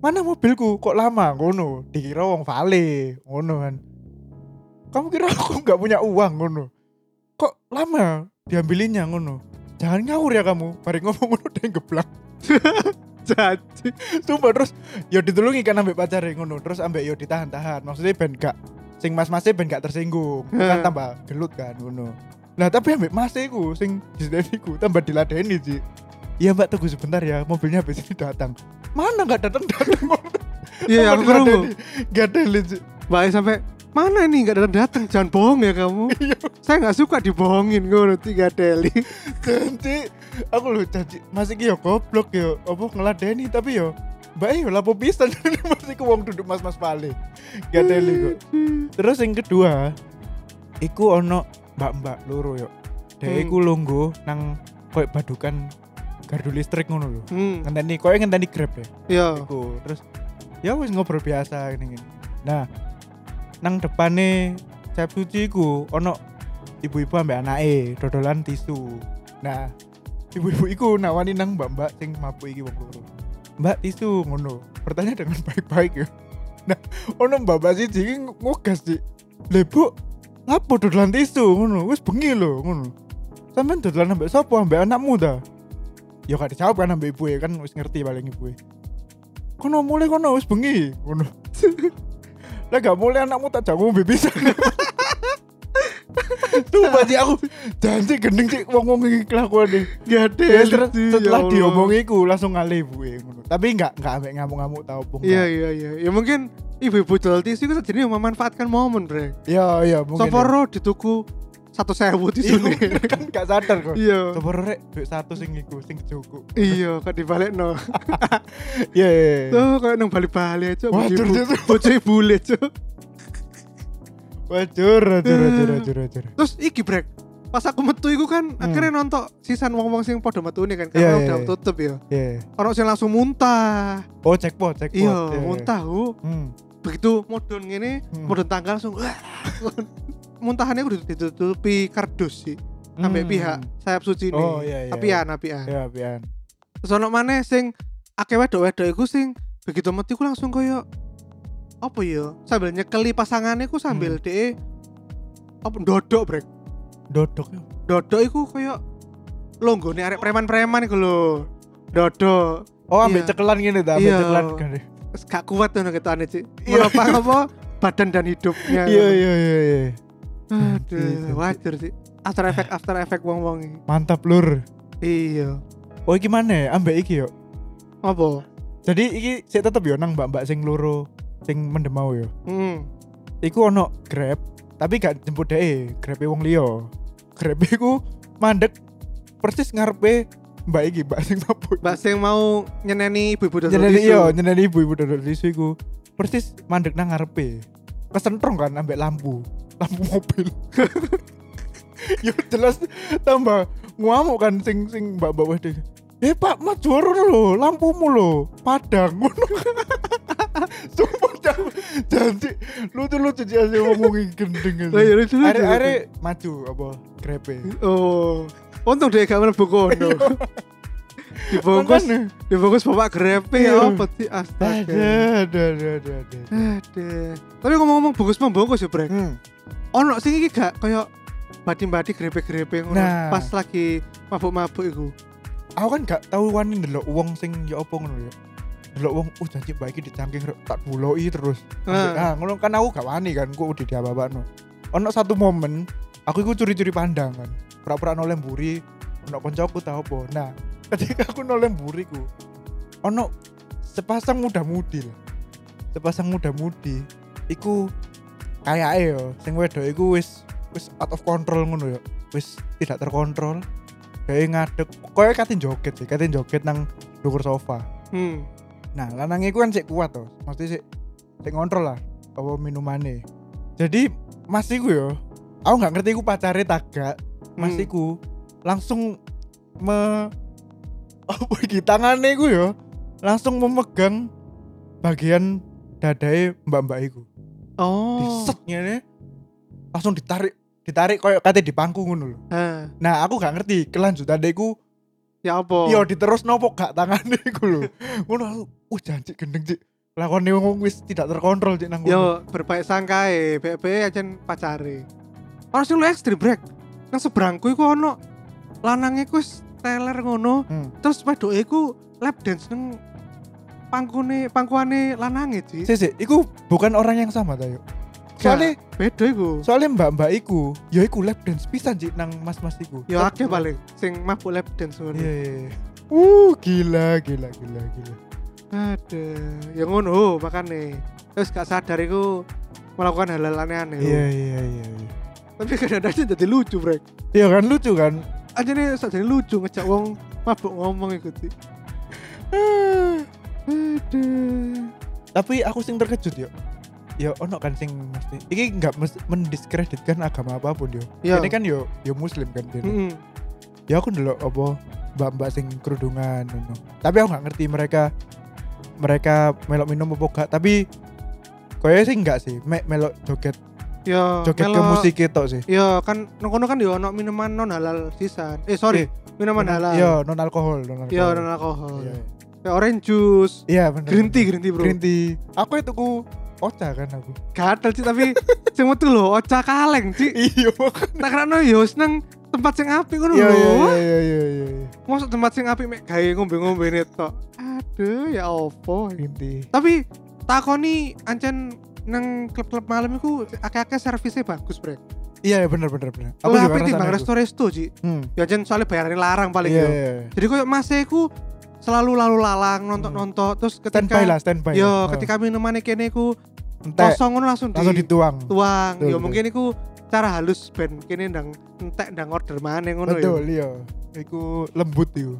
Speaker 2: mana mobilku kok lama ngono? Dikira wong Vale ngono kan. Kamu kira [laughs] aku nggak punya uang ngono? Kok lama diambilinnya ngono? Jangan ngawur ya kamu, bari ngomong ngono [laughs] dan geblak.
Speaker 1: [laughs] jadi
Speaker 2: Sumpah terus yo ditulungi kan ambek pacare ngono, terus ambek yo ditahan-tahan. Maksudnya ben gak sing mas-masnya ben
Speaker 1: [laughs]
Speaker 2: gak tersinggung. Kan
Speaker 1: Hmm.
Speaker 2: tambah gelut kan ngono. Lah tapi ambek mas iku sing disini ku tambah diladeni sih. Iya mbak tunggu sebentar ya mobilnya habis ini datang. Mana nggak datang datang
Speaker 1: iya aku kerungu
Speaker 2: Gak ada sih.
Speaker 1: Mbaknya sampai mana ini nggak datang datang jangan bohong ya kamu
Speaker 2: [laughs] Iya.
Speaker 1: saya nggak suka dibohongin gue tiga deli
Speaker 2: Janji aku lu janji masih yo goblok yo apa ngeladeni tapi yo mbak yo lapo pisan [laughs] masih ku wong duduk mas-mas pale. Gak ada kok. Terus yang kedua, iku ono mbak-mbak loro yo.
Speaker 1: Hmm.
Speaker 2: Dek iku lungguh nang koyo badukan gardu listrik ngono lho.
Speaker 1: hmm
Speaker 2: Ngenteni koyo ngenteni Grab ya.
Speaker 1: iya
Speaker 2: Iku. Terus ya wis ngobrol biasa ngene ngene. Nah, nang depane Cap Suci iku ono ibu-ibu ambek anake dodolan tisu. Nah, ibu-ibu iku nawani nang mbak-mbak sing mabuk iki wong loro. Mbak tisu ngono. Bertanya dengan baik-baik ya. Nah, ono mbak-mbak siji iki ngogas sih. Lha Bu, lapo dodolan tisu ngono? Wis bengi lho ngono. Sampeyan dodolan ambek sapa? Ambek anakmu ta? Ya gak dijawab kan ambek ibu ya kan wis ngerti paling ibu ya. Kono mulai kono [laughs] wis bengi ngono. Lah gak mulai anakmu tak jago bibi [laughs] bisa. Tuh bagi aku janji gendeng sih wong-wong iki kelakuane.
Speaker 1: gak
Speaker 2: Ya, setelah setelah diomongi ku langsung ngalih bu ya, ngono. Tapi nggak nggak ambek ngamuk-ngamuk tau pun.
Speaker 1: iya iya iya ya mungkin ibu-ibu jual tisu itu jadi memanfaatkan momen bre
Speaker 2: iya iya mungkin. ya.
Speaker 1: soporo dituku satu sewu
Speaker 2: Iya, [laughs]
Speaker 1: tisu nih
Speaker 2: kan nggak sadar kok.
Speaker 1: iya
Speaker 2: Sopor rek duit satu sing iku sing joko.
Speaker 1: iya kok dibalik no
Speaker 2: Iya iya. iya.
Speaker 1: tuh kayak nang balik-balik aja
Speaker 2: Waduh,
Speaker 1: bojo
Speaker 2: Cuk.
Speaker 1: bocah bule cuk
Speaker 2: Wajur wajur wajur wajur wajur.
Speaker 1: terus iki brek pas aku metu iku kan akhirnya nonton sisan wong-wong sing podo metu nih kan
Speaker 2: Hmm. Iya,
Speaker 1: karena
Speaker 2: iya,
Speaker 1: udah
Speaker 2: iya.
Speaker 1: tutup ya
Speaker 2: Iya.
Speaker 1: orang sing langsung muntah
Speaker 2: Oh jackpot jackpot.
Speaker 1: iya
Speaker 2: iya, iya.
Speaker 1: muntah hu.
Speaker 2: Hmm.
Speaker 1: begitu modon gini
Speaker 2: Hmm.
Speaker 1: modon tangga langsung wah. [laughs] muntahannya udah ditutupi kardus sih sampai
Speaker 2: Hmm.
Speaker 1: pihak sayap suci ini.
Speaker 2: Oh, iya, iya,
Speaker 1: apian, apian.
Speaker 2: Ya, pian.
Speaker 1: Terus ono maneh sing akeh wedok-wedok iku sing begitu mati ku langsung koyo apa ya? Sambil nyekeli pasangannya ku sambil
Speaker 2: Hmm.
Speaker 1: dhek apa ndodok brek.
Speaker 2: Dodok.
Speaker 1: Ndodok iku koyo longgone arek preman-preman iku lho. Ndodok.
Speaker 2: Oh, ambil
Speaker 1: Iya.
Speaker 2: cekelan gini ta, ambil
Speaker 1: Iya.
Speaker 2: cekelan.
Speaker 1: Terus gak kuat ngono ketane, Cik.
Speaker 2: Iya.
Speaker 1: Menopang apa badan dan hidupnya.
Speaker 2: Iya, iya, iya, iya.
Speaker 1: Aduh, wajar sih. After effect after effect wong-wong.
Speaker 2: Mantap, Lur.
Speaker 1: Iya.
Speaker 2: Oh, iki mana ya? Ambek iki yo.
Speaker 1: Apa?
Speaker 2: Jadi iki sik tetep yo nang mbak-mbak sing loro sing mendemau yo.
Speaker 1: Heeh.
Speaker 2: Iku ono Grab, tapi gak jemput deh, Grabe e wong liya. Grabe iku mandek persis ngarepe mbak iki, mbak sing sapu.
Speaker 1: Mbak sing mau nyeneni ibu-ibu dodol
Speaker 2: nyeneni iya.
Speaker 1: tisu.
Speaker 2: yo, nyeneni ibu-ibu dodol tisu iku. Persis mandek nang ngarepe. Kesentrong kan ambek lampu, lampu mobil. [laughs] yo jelas tambah ngamuk kan sing sing mbak-mbak wedhe. Eh Pak, maju lho, lampumu lho, padang [laughs] ngono. Sumpah jangan janji lucu-lucu aja ngomongin gendeng.
Speaker 1: Lah, ya lucu-lucu.
Speaker 2: Are-are maju apa grepe.
Speaker 1: Oh, untung dia gak mlebu kono. dibungkus,
Speaker 2: Iya. Makanya.
Speaker 1: dibungkus bapak grepe ya
Speaker 2: Iya.
Speaker 1: apa sih astaga.
Speaker 2: Ada, ada, ada, ada, ada.
Speaker 1: Aduh. Tapi ngomong-ngomong bungkus membungkus ya, Brek.
Speaker 2: Hmm.
Speaker 1: Ono sing iki gak koyo badi-badi grepe-grepe ngono
Speaker 2: Nah.
Speaker 1: pas lagi mabuk-mabuk iku.
Speaker 2: aku kan gak tahu wani ndelok wong sing ya apa ngono ya. Ndelok wong uh janji baik iki dicangking rek, tak buloi terus.
Speaker 1: Nah.
Speaker 2: Nah, ngono kan aku gak wani kan kok udah diapa-apakno. Ono satu momen aku iku curi-curi pandang kan. Pura-pura noleh mburi ono koncoku tau apa. Nah, [laughs] ketika aku noleh mburi ku ono sepasang muda-mudi lah. Sepasang muda-mudi iku kayake yo sing wedok iku wis wis out of control ngono yo. Wis tidak terkontrol. Kayak ngadeg, koyo katin joget sih, katin joget nang dukur sofa.
Speaker 1: Hmm.
Speaker 2: Nah, lanang iku kan sik kuat to. Mesti sik sik ngontrol lah apa minumane. Jadi mas iku yo, aku nggak ngerti iku pacare tagak. Mas
Speaker 1: Hmm.
Speaker 2: iku langsung me apa iki tangane iku yo, langsung memegang bagian dadae mbak-mbak iku.
Speaker 1: Oh.
Speaker 2: Diset ngene. Langsung ditarik, ditarik koyo kate dipangku ngono lho.
Speaker 1: Hah,
Speaker 2: Nah, aku gak ngerti kelanjutannya iku
Speaker 1: Ah. ya apa?
Speaker 2: Iya diterus nopo gak tangane iku lho. Ngono aku, uh janji gendeng cik. Lakone wong wis tidak terkontrol cik nang ngono.
Speaker 1: Yo berbaik sangka e, BB aja pacare. Ono sing lu ekstrim brek. Nang seberangku iku ono lanange ku wis teler ngono.
Speaker 2: Hmm.
Speaker 1: terus wedoke iku lap dance neng pangkone pangkuane lanange Ci.
Speaker 2: Sik sik, iku bukan orang yang sama ta yo. Soale
Speaker 1: Beda iku.
Speaker 2: soale mbak-mbak iku, ya iku lap dance pisan cik nang mas-mas iku.
Speaker 1: Ya akeh paling sing mabuk lap dance ngono.
Speaker 2: Iya iya. iya. Uh gila gila gila gila.
Speaker 1: Aduh, ya ngono oh, makane. Terus gak sadar iku melakukan hal-hal aneh-aneh. oh.
Speaker 2: Iya iya iya. iya.
Speaker 1: Tapi kadang-kadang jadi lucu, Brek.
Speaker 2: Iya kan lucu kan? [sighs]
Speaker 1: Aja nih jadi lucu ngejak wong mabuk ngomong iku, Ci. Aduh.
Speaker 2: Tapi aku sing terkejut yo. Ya ono kan sing mesti. Iki nggak mesti mendiskreditkan agama apapun yo.
Speaker 1: Iya.
Speaker 2: Ini kan yo yo muslim kan dene.
Speaker 1: Mm-mm.
Speaker 2: ya aku ndelok apa mbak-mbak sing kerudungan ngono. Tapi aku nggak ngerti mereka mereka melok minum apa gak, tapi kayaknya sih enggak sih, me- melok joget
Speaker 1: Ya,
Speaker 2: joget ke
Speaker 1: melo-
Speaker 2: musik itu sih.
Speaker 1: Ya kan nongkono kan yo ono minuman non halal sisan. Eh sorry,
Speaker 2: Eh,
Speaker 1: minuman halal.
Speaker 2: Iya, non alkohol, non alkohol.
Speaker 1: Ya non alkohol.
Speaker 2: Iya.
Speaker 1: Ya, orange juice,
Speaker 2: Iya, bener.
Speaker 1: green tea, green tea bro.
Speaker 2: Green tea. Aku itu ku oca kan aku.
Speaker 1: Gatel sih
Speaker 2: [laughs]
Speaker 1: tapi sing metu lho oca kaleng sih.
Speaker 2: iya,
Speaker 1: Tak kerana yo seneng tempat sing apik ngono
Speaker 2: iya, iya,
Speaker 1: lho.
Speaker 2: iya, iya, iya, iya.
Speaker 1: Mosok tempat sing apik mek gawe ngombe-ngombe tok. Aduh ya opo.
Speaker 2: Green tea.
Speaker 1: Tapi takoni ancen nang klub-klub malam iku akeh-akeh servisnya bagus, Brek.
Speaker 2: Iya, iya, bener, bener, bener.
Speaker 1: Aku juga timbang
Speaker 2: ngerasane itu.
Speaker 1: resto-resto, Ci.
Speaker 2: Hmm.
Speaker 1: Ya ancen soalnya bayarannya larang paling
Speaker 2: Iya,
Speaker 1: yo.
Speaker 2: iya.
Speaker 1: Jadi koyo mase iku selalu lalu lalang nonton-nonton terus ketika
Speaker 2: Standby lah, standby.
Speaker 1: Yo,
Speaker 2: Oh.
Speaker 1: ketika minumannya kene iku
Speaker 2: Entek,
Speaker 1: kosong ngono langsung,
Speaker 2: langsung
Speaker 1: di
Speaker 2: dituang.
Speaker 1: tuang
Speaker 2: Betul,
Speaker 1: ya
Speaker 2: betul.
Speaker 1: mungkin itu cara halus ben kini ndang entek ndang order mana ngono ya
Speaker 2: Betul, iya. Iku lembut iku.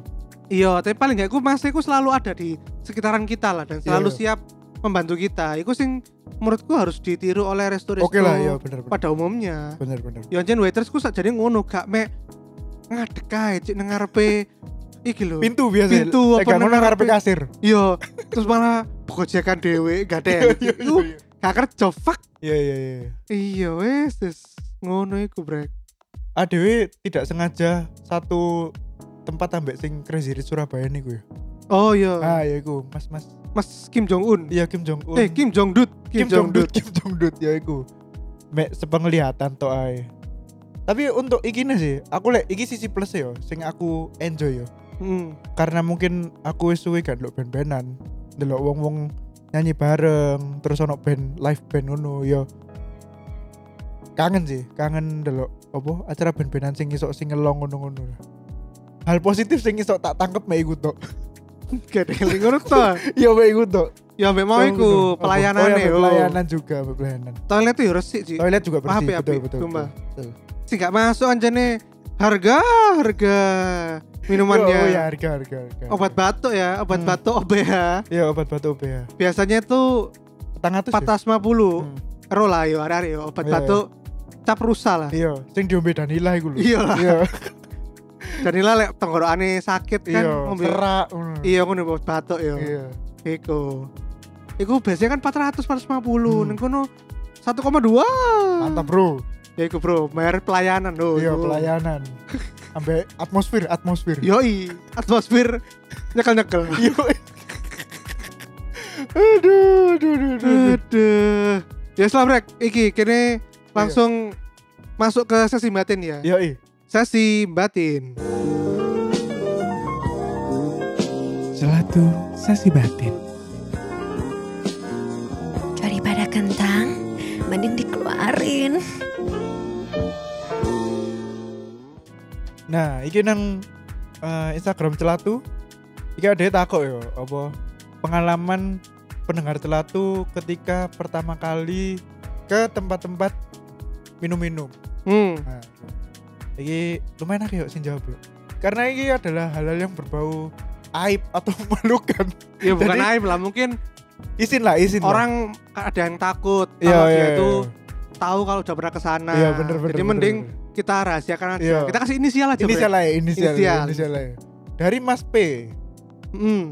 Speaker 1: iya tapi paling gak aku masih aku selalu ada di sekitaran kita lah dan selalu
Speaker 2: Iya,
Speaker 1: siap membantu kita itu sing menurutku harus ditiru oleh resto-resto
Speaker 2: Oke lah, iya bener bener.
Speaker 1: pada umumnya
Speaker 2: Bener bener.
Speaker 1: ya jen waitersku jadi ngono gak mek ngadek ae cik nang ngarepe iki lho
Speaker 2: Pintu biasa.
Speaker 1: Pintu, apa
Speaker 2: eh, gak ngono
Speaker 1: namanya?
Speaker 2: ngarepe kasir.
Speaker 1: iya terus malah gojekan dhewe gak ada
Speaker 2: [laughs] Iya,
Speaker 1: itu gak kerja fuck
Speaker 2: Iya iya iya.
Speaker 1: iya wes wes. ngono iku brek
Speaker 2: adewe tidak sengaja satu tempat ambek sing Crazy Rich Surabaya niku ya.
Speaker 1: oh iya
Speaker 2: Ah ya iku, Mas Mas.
Speaker 1: mas Kim Jong Un
Speaker 2: Iya Kim Jong Un.
Speaker 1: eh Kim Jong Dut
Speaker 2: Kim Jong Dut, Kim Jong Dut ya iku. Mek sepenglihatan to ae. Tapi untuk iki sih, aku lek iki sisi plus e yo sing aku enjoy yo.
Speaker 1: Hmm.
Speaker 2: Karena mungkin aku wis suwe gak ndelok band-bandan, ndelok wong-wong nyanyi bareng, terus ono band live band ngono yo. Kangen sih, kangen ndelok apa acara band-bandan sing isok singelong ngono-ngono. lah. Hal positif sing isok tak tangkep mek iku tok. [laughs]
Speaker 1: Gak ada yang ngurut toh.
Speaker 2: Iya mek iku tok.
Speaker 1: Ya mbak mau
Speaker 2: Yo, ngono.
Speaker 1: iku
Speaker 2: Apa?
Speaker 1: pelayanan
Speaker 2: Oh,
Speaker 1: ya.
Speaker 2: iya, mek pelayanan juga, mek pelayanan.
Speaker 1: Toilet tuh ya resik sih.
Speaker 2: Toilet juga bersih,
Speaker 1: Apik,
Speaker 2: betul,
Speaker 1: apik,
Speaker 2: betul,
Speaker 1: ya, sumpah.
Speaker 2: betul.
Speaker 1: Sih gak masuk anjane. Harga, harga minumannya.
Speaker 2: Oh, oh, ya harga harga. harga.
Speaker 1: Obat batuk ya, obat
Speaker 2: Hmm.
Speaker 1: batuk OBH.
Speaker 2: Iya obat batu OBH.
Speaker 1: Biasanya tuh
Speaker 2: Petang atus.
Speaker 1: 450.
Speaker 2: ya?
Speaker 1: puluh
Speaker 2: Hmm.
Speaker 1: Ero lah yo, arek yo obat
Speaker 2: Iya,
Speaker 1: batuk cap rusa lah.
Speaker 2: Iya, sing diombe Danila iku lho.
Speaker 1: Iya lah.
Speaker 2: Iya.
Speaker 1: Dan ini lek tenggorokane sakit kan
Speaker 2: Iya,
Speaker 1: ngombe.
Speaker 2: serak. ngono.
Speaker 1: Iya ngono obat batuk yo.
Speaker 2: Iya.
Speaker 1: Iku. Iku biasanya kan 400 450.
Speaker 2: Hmm.
Speaker 1: Nang kono 1,2.
Speaker 2: Mantap, Bro.
Speaker 1: Ya iku bro, bayar pelayanan loh.
Speaker 2: Iya,
Speaker 1: iku.
Speaker 2: pelayanan. Ambek atmosfer, atmosfer.
Speaker 1: Yoi, atmosfer nyekel-nyekel.
Speaker 2: Iya. [laughs] aduh, aduh, aduh, aduh. aduh.
Speaker 1: Aduh. Ya selam rek, iki kene langsung masuk ke sesi batin ya.
Speaker 2: Iya, iya.
Speaker 1: Sesi batin.
Speaker 2: Selatu sesi batin.
Speaker 3: Daripada kentang, mending dikeluarin.
Speaker 2: Nah, iki nang eh, Instagram Celatu. Iki ada takok yo, apa pengalaman pendengar Celatu ketika pertama kali ke tempat-tempat minum-minum.
Speaker 1: Hmm.
Speaker 2: Nah, iki lumayan akeh yo sing jawab yo. Karena ini adalah hal-hal yang berbau aib atau [laughs] memalukan.
Speaker 1: Ya bukan
Speaker 2: Jadi-
Speaker 1: aib lah, mungkin
Speaker 2: Izin lah,
Speaker 1: Iya.
Speaker 2: izin lah.
Speaker 1: orang ada yang takut
Speaker 2: Iya,
Speaker 1: kalau
Speaker 2: iya,
Speaker 1: dia tuh
Speaker 2: iya.
Speaker 1: tahu kalau udah pernah ke sana.
Speaker 2: Iya, bener, bener,
Speaker 1: Jadi
Speaker 2: bener,
Speaker 1: mending
Speaker 2: bener.
Speaker 1: kita rahasiakan aja.
Speaker 2: Iya.
Speaker 1: Kita kasih inisial aja.
Speaker 2: Inisial lah ya, inisial,
Speaker 1: Inisial.
Speaker 2: inisial lah ya. Dari Mas P.
Speaker 1: Hmm.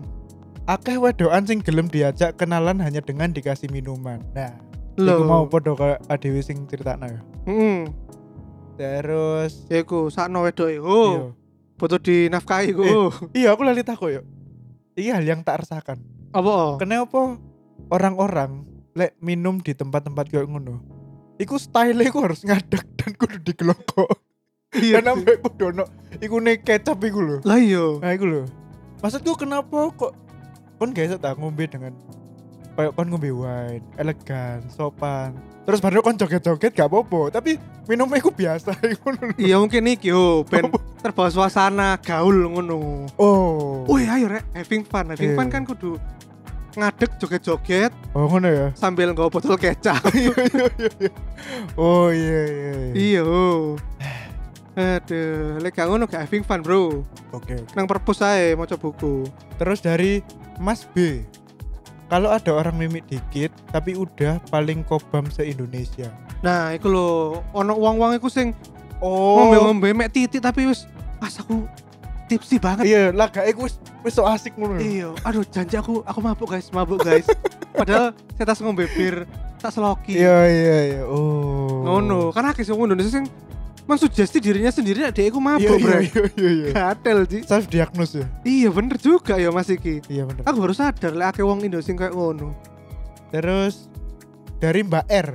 Speaker 2: Akeh wedokan sing gelem diajak kenalan hanya dengan dikasih minuman. Nah,
Speaker 1: Loh.
Speaker 2: Iku mau podo karo adewe sing critakno ya.
Speaker 1: Hmm.
Speaker 2: Terus
Speaker 1: Ya iku sakno wedok iku. Oh, butuh dinafkahi iku.
Speaker 2: Eh.
Speaker 1: Oh.
Speaker 2: Iya, iya aku lali takok yo. Iki hal yang tak resahkan.
Speaker 1: Apa? oh?
Speaker 2: Kenapa orang-orang lek minum di tempat-tempat kayak ngono? Iku style iku harus ngadeg dan kudu digelokok. [laughs]
Speaker 1: Iya.
Speaker 2: Dan sampe kudu ono iku ne kecap iku lho.
Speaker 1: Lah iya.
Speaker 2: Nah, iku lho. Maksudku kenapa kok kon gak iso tak ngombe dengan kayak kon ngombe wine, elegan, sopan. Terus baru kon joget-joget gak apa-apa, tapi minumnya iku biasa [laughs] iku lho.
Speaker 1: Iya mungkin iki yo ben terbawa suasana gaul ngono.
Speaker 2: Oh.
Speaker 1: Woi ayo rek having fun. Having
Speaker 2: Iya.
Speaker 1: fun kan kudu ngadeg joget-joget
Speaker 2: Oh ngono ya.
Speaker 1: sambil nggawa botol
Speaker 2: [laughs]
Speaker 1: kecap.
Speaker 2: Iya. Oh iya iya. iya.
Speaker 1: iya. Aduh, lek gak ngono gak having fun, Bro.
Speaker 2: Oke. oke.
Speaker 1: Nang perpus ae maca buku.
Speaker 2: Terus dari Mas B. Kalau ada orang mimik dikit tapi udah paling kobam se-Indonesia.
Speaker 1: Nah, iku lho ono wong-wong iku sing
Speaker 2: Oh.
Speaker 1: ngombe-ngombe mek titik tapi wis pas aku tipsi banget.
Speaker 2: Iya, lagake iku wis wis so asik ngono. lho.
Speaker 1: Iya, aduh janji aku aku mabuk guys, mabuk
Speaker 2: [laughs]
Speaker 1: guys. Padahal saya tas ngombe bir, tak seloki.
Speaker 2: Iya iya iya. Oh.
Speaker 1: ngono karena akeh sing wong Indonesia sing mensugesti dirinya sendiri adek iku
Speaker 2: Iya
Speaker 1: mabuk
Speaker 2: iya
Speaker 1: bro
Speaker 2: iya iya. iya.
Speaker 1: gatel Ji.
Speaker 2: Self diagnose ya.
Speaker 1: iya bener juga ya mas iki
Speaker 2: Iya bener.
Speaker 1: aku baru sadar lek akeh wong Indo sing kayak ngono
Speaker 2: Terus dari Mbak R.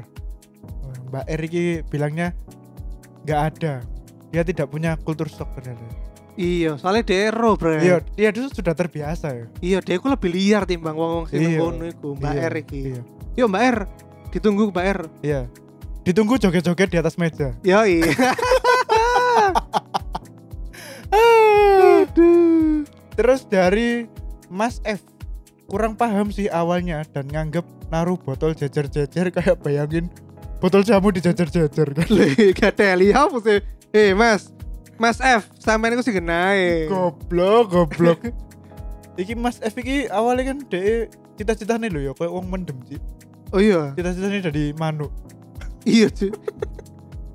Speaker 2: Oh, Mbak R ini bilangnya nggak ada. Dia tidak punya kultur shock ternyata.
Speaker 1: iya soalnya dia ero bro
Speaker 2: Iya, dia itu sudah terbiasa ya.
Speaker 1: iya dia iku lebih liar timbang wong wong sing
Speaker 2: Iya.
Speaker 1: ngono iku mbak
Speaker 2: Iya,
Speaker 1: R iki
Speaker 2: Iya.
Speaker 1: yo mbak R ditunggu mbak R
Speaker 2: Iya. Ditunggu joget-joget di atas meja.
Speaker 1: yo iya [laughs] aduh
Speaker 2: Terus dari Mas F kurang paham sih awalnya dan nganggep naruh botol jejer-jejer kayak bayangin botol jamu dijejer-jejer kan.
Speaker 1: lih gatel iya apa sih eh mas Mas F, sampean iku sih genae.
Speaker 2: Goblok, goblok. iki Mas F iki awalnya kan de cita-citanya lho ya kayak wong mendem sih.
Speaker 1: Oh iya,
Speaker 2: Cita-citanya dari manuk.
Speaker 1: iya cuy.